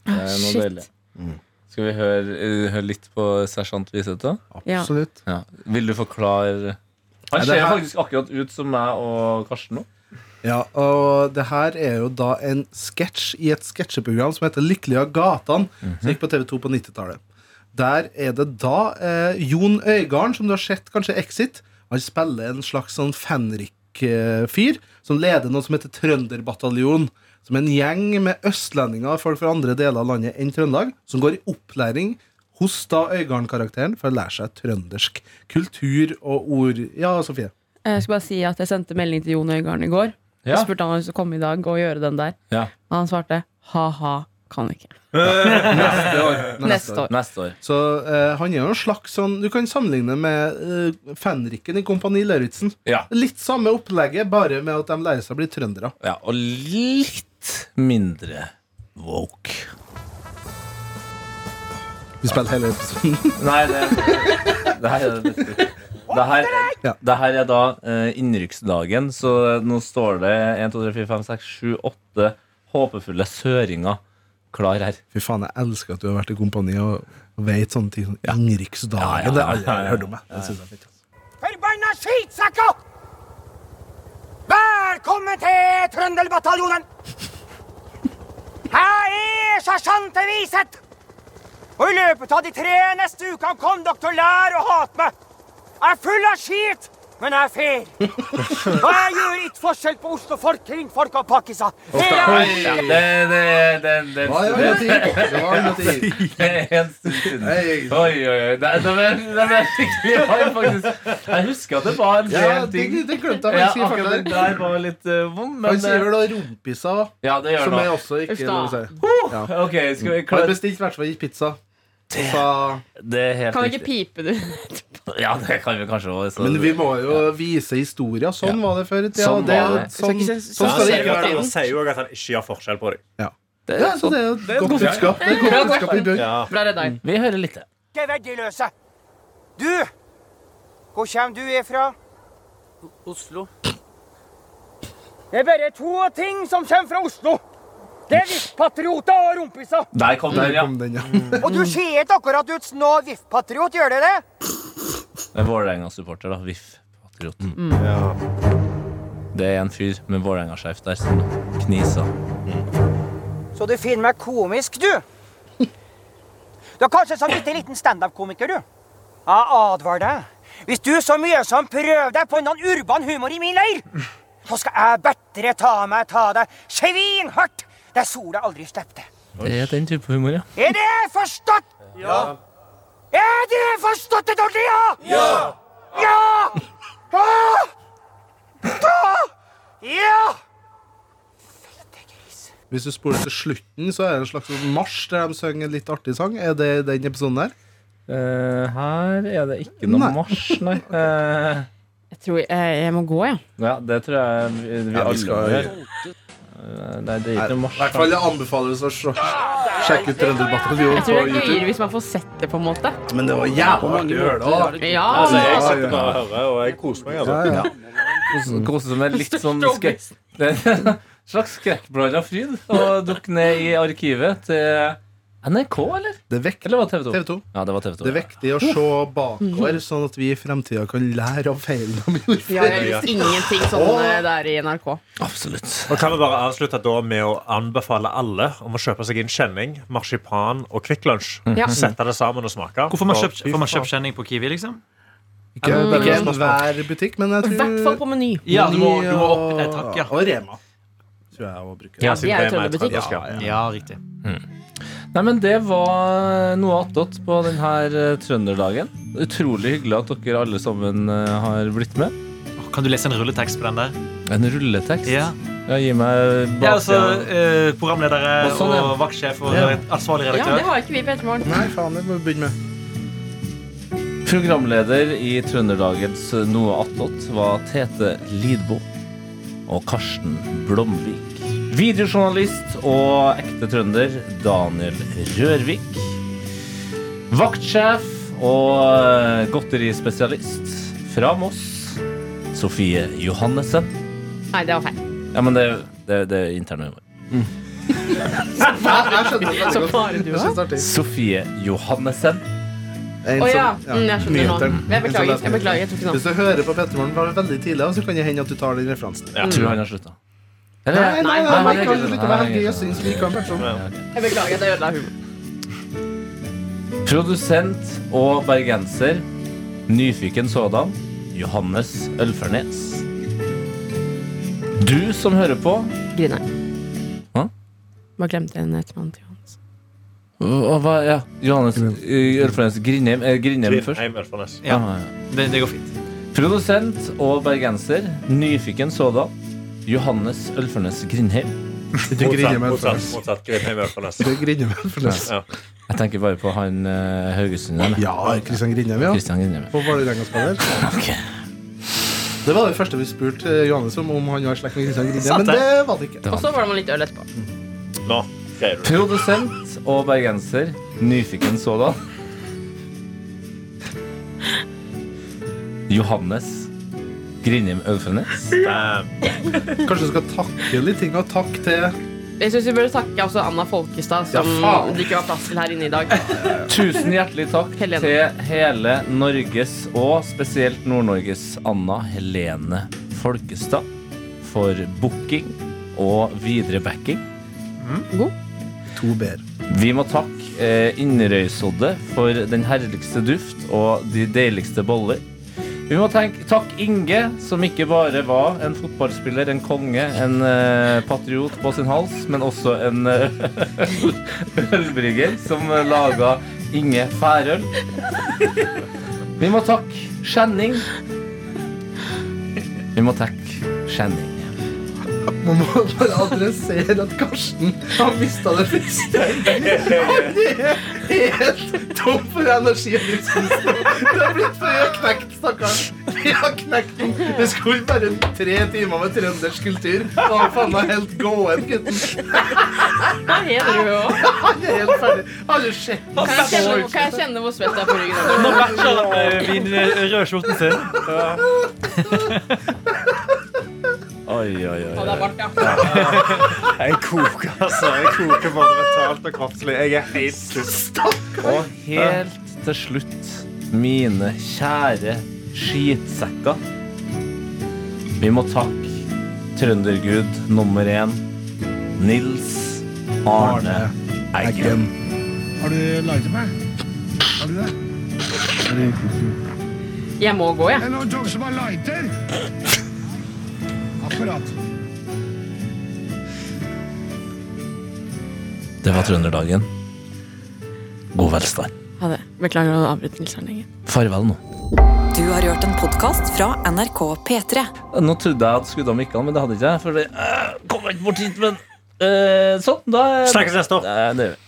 C: er noe
G: Shit.
C: deilig. Mm. Skal vi høre, eh, høre litt på sersjant Wiseth, da?
G: Ja.
E: Absolutt.
C: Vil du forklare Han
E: det
C: ser
E: her-
C: faktisk akkurat ut som meg og Karsten nå.
E: Ja, og det her er jo da en sketsj i et sketsjeprogram som heter Lykkelig av gatan, som gikk på TV2 på 90-tallet. Der er det da eh, Jon Øygarden, som du har sett kanskje Exit, han spiller en slags sånn Fenrik-fyr, som leder noe som heter Trønderbataljonen, som er en gjeng med østlendinger og folk fra andre deler av landet enn Trøndelag, som går i opplæring hos da Øygarden-karakteren for å lære seg trøndersk kultur og ord. Ja, Sofie?
G: Eh, Jeg skal bare si at jeg sendte melding til Jon Øigarden i går.
C: Ja.
G: Jeg spurte han om han skulle komme i dag og gjøre den der.
C: Ja.
G: Og han svarte ha-ha. Kan ikke.
E: Neste
G: Neste
E: år.
G: år.
C: Neste år.
E: Så eh, han er jo en slags sånn Du kan sammenligne med eh, fenriken i Kompani Lauritzen.
C: Ja.
E: Litt samme opplegget, bare med at de lærer seg å bli trøndere.
C: Ja, og litt mindre woke.
E: Vi spiller hele episoden.
C: Nei, det, det her er det det her,
E: Ja.
C: det her er da eh, innrykksdagen, så nå står det 1, 2, 3, 4, 5, 6, 7, 8 håpefulle søringer klar her.
E: Fy faen, jeg elsker at du har vært i Kompani og og vet sånne ting. Sånn Ingriksdagen. Det har aldri jeg hørt om. Jeg. Det synes jeg er fint. altså.
J: Forbanna skitsekker! Velkommen til Trøndelbataljonen! Her er sersjant Viset! Og i løpet av de tre neste ukene kom dere til å lære å hate meg. Jeg er full av skit, men jeg er fair. Og jeg gjør ikke forskjell på oslofolk, kvinnfolk og pakkiser. Her er
C: Oi, ja, Det, det, det, det,
E: Hva er
C: det,
E: det tid? Det var noe tid.
C: det er en stund siden.
E: Hei.
C: Oi, oi, oi. Det, det, var- det var skikkelig hard, faktisk. Jeg husker at det var en
E: Ja,
C: del
E: det,
C: ting.
E: det glemte jeg
C: Ja,
E: faktisk i
C: akkurat
E: farten.
C: den der var litt eh, vond, men
E: Han sier
C: eh,
E: vel da rompissa,
C: Ja, det gjør
E: som
C: det.
E: er også ikke
G: Uff da.
E: lov å si.
C: Ok, skal vi
E: Han
C: klare
E: bestilte i hvert fall ikke pizza. Og sa
C: Det er helt
G: Kan vi ikke
C: riktig.
G: pipe det?
C: Ja, det kan vi kanskje også.
E: Men vi må jo vise historia. Sånn var det før i tida.
C: Sånn
E: og det er
C: var
E: jo-
C: det.
E: Sånn,
G: Skal ikke
E: sånn,
G: se-
E: skal det
G: sånn
E: ikke
G: ser
E: være.
G: det
H: Han sier jo at han ikke gjør forskjell på dem.
E: Ja, så det er jo et godt budskap. Det er et godt budskap i bunn.
G: Bra redda inn.
C: Vi hører litt.
J: ikke verdiløse. Du, hvor kommer du ifra? Oslo. Det er bare to ting som kommer fra Oslo. Det er VIF-patrioter og rumpisser.
C: Der kom den,
E: Der
C: ja.
E: kom den, ja.
J: Og du ser ikke akkurat ut som noen VIF-patriot, gjør du det?
C: Det er Vålerenga-supporter, da. VIF. Patriot. Det er en fyr med Vålerenga-skjerf der som kniser.
J: Så du finner meg komisk, du. Du er kanskje som bitte liten standup-komiker, du. Jeg advarer deg. Hvis du så mye som prøver deg på en annen urban humor i min leir, så skal jeg bedre ta meg ta deg svinhardt der sola aldri slipper det.
C: Det er den type humor, ja.
J: Er det forstått? Ja. Er det forstått det dårlig, ja? Ja! Ja! Ah! Ah! Ja!
E: Hvis du spoler til slutten, så er det en slags sånn marsj der de synger en litt artig sang. Er det i den episoden der?
C: Eh, her er det ikke noe
E: Nei.
C: marsj, nei. Eh,
G: Jeg tror jeg, jeg må gå, jeg.
C: ja, det tror jeg vi, vi
E: Ja, vi
C: alle
E: skal-
C: skal gjøre. Eh, Nei, det er ikke noe
E: I hvert
C: marsj.
E: fall det anbefales å sj- sjekke ut Trønderbataljonen
G: Jeg
E: på
G: tror det er
E: YouTube.
G: gøyere hvis man får sett det, på en måte.
E: Men det var jævla artig å høre det òg.
G: Ja,
H: Altså, jeg
E: ja,
H: sitter
E: ja.
H: bare og hører, og jeg koser meg. Altså.
E: Ja, ja.
C: Kose- Kose som en litt sånn skrekk... Det er en slags skrekkblanda fryd å dukke ned i arkivet til NRK, eller?
E: Det er vekt-
C: Eller var det TV 2?
E: TV2.
C: Ja, det var TV 2.
E: Det er viktig å se bakover, sånn at vi i fremtida kan lære av feilene de gjorde.
G: Ja, jeg visste ingenting sånn eh, der i NRK.
C: Absolutt.
H: Og kan vi bare avslutte da med å anbefale alle om å kjøpe seg inn kjenning, marsipan og Kvikk Lunsj.
G: Ja.
H: Sette det sammen og smake.
F: Hvorfor man
H: Og
F: kjøpt,
H: fy
F: får man
H: faen.
F: kjøpt kjenning på Kiwi, liksom?
E: Ikke
G: Mm.
E: bare enhver butikk, men jeg
G: I hvert fall
E: tror
G: på Meny.
F: Ja, du må, du må opp eh, Takk, ja.
E: Og Rema. Tror jeg også bruker.
G: Ja,
H: siden
G: de er jo
H: Rema et
G: trønderbutikk.
H: trønderskap.
F: Ja, riktig.
C: Nei, men det var noe attåt på denne trønderdagen. Utrolig hyggelig at dere alle sammen eh, har blitt med.
F: Åh, Kan du lese en rulletekst på den der?
C: En rulletekst.
F: Ja,
C: Ja, gi meg
F: ja altså
C: baksida.
F: eh, Programledere
C: Og sånn, ja.
F: og vaktsjef og
E: Ja.
F: redaktør- ansvarlig
G: Ja, det
F: redaktør.
G: har ikke vi på Ettermorgen.
E: Nei, faen, det må vi begynne med.
C: Programleder i Trønderdagens Noe attåt var Tete Lidbo og Karsten Blomvik. Videojournalist og ekte trønder Daniel Rørvik. Vaktsjef og eh, godterispesialist fra Moss Sofie Johannessen.
G: Nei, det var feil.
C: Ja, men det, det, det er intern humor.
E: Jeg skjønner det veldig
G: Så
E: godt.
G: bare du
E: Jeg
G: òg.
E: synes det er artig.
C: Sofie Johannessen.
E: En
G: Å
E: som-
G: ja.
E: ja.
G: Mm, jeg skjønner nå.
E: Nyheteren.
G: Jeg
E: En som
G: beklager.
E: leser.
G: Jeg beklager, jeg tok ikke noe.
E: Hvis du hører på Pettermoren fra veldig tidlig av, så kan det hende at du tar den referansen.
C: Jeg tror han har slutta.
E: Nei, nei, nei, nei,
G: nei, nei,
E: jeg kan
C: nei,
E: slutte å være
C: nei,
E: heldig
C: nei.
E: jøssing som ikke har vært sånn.
G: Jeg beklager, det ødela humoren.
C: Produsent og bergenser. Nyfiken sådan. Johannes Ølfernes. Du som hører på
G: Griner.
C: Hva?
G: Bare glemte en etternavn til Johannes.
C: Å, hva, ja, Johannes eh, Ølfernes Grindheim. eh, Grindheim først.
H: Grindheim, Ølfarnes.
C: Ja,
F: Ja.
C: ja, ja.
F: Det, det går fint.
C: Produsent og bergenser. Nyfiken sådan. Johannes Ølfernes Grindheim.
E: Ikke grine med
H: Motsatt.
E: Elfenes.
H: motsatt Grinne i Mørknes.
E: Ikke grine med Elfenes.
C: Jeg tenker bare på han eh, Haugesund der.
E: Ja, Kristian Grindheim, ja.
C: Kristian Grindheim.
E: På Vålerenga-spiller. Det var det første vi spurte eh, Johannes om, om han var i slekt med Kristian Grindheim, men det var det ikke.
G: Og så var det med litt øl etterpå.
H: Nå greier du det.
C: Produsent og bergenser. Nyfiken sådan. Johannes Grindheim Ølfenes.
E: Kanskje du skal takke litt ting, og takk til
G: Jeg syns vi burde takke også Anna Folkestad, som det ikke var plass til her inne i dag.
C: Tusen hjertelig takk
G: Helene.
C: til hele Norges, og spesielt Nord-Norges Anna Helene Folkestad, for booking og videre backing.
E: to b-er.
C: Vi må takke eh, Inderøysodde for den herligste duft og de deiligste boller. Vi må tenke, takke Inge, som ikke bare var en fotballspiller, en konge, en eh, patriot på sin hals, men også en eh, ølbrygger som laga Inge Færøl. Vi må takke Skjenning. Vi må takke Skjenning.
E: Man må bare adressere at Karsten har mista det første. Han er helt tom for energi. og livslyst. Det har blitt for Vi har knekt, stakkars. Vi har knekt den. Det skulle bare tre timer med trøndersk kultur. Og han faen meg helt gåen, gutten.
G: Her er du jo.
E: Han er helt ferdig. Har du sett
G: Kan jeg kjenne, kan jeg kjenne hvor svett det er på ryggen?
F: Nå matcher han med vin- rød skjorten sin.
C: Oi, oi, oi.
G: Og det er bart, ja.
H: Jeg koker, altså. Jeg koker både mentalt og kroppslig. Jeg er helt sust.
C: Og helt til slutt, mine kjære skitsekker. Vi må takke trøndergud nummer én, Nils Arne Eggen.
G: Jeg må gå, jeg.
C: Det var trønderdagen. God velstand.
G: Ha det. Beklager å avbryte Nils Arne Eggen.
C: Farvel nå.
A: Du har hørt en podkast fra NRK P3.
C: Nå trodde jeg at skudda mikka, men det hadde ikke jeg. For det øh, kom jeg ikke bort hit, men øh, sånn, da
H: Snakkes neste år.
C: Nei, det gjør vi.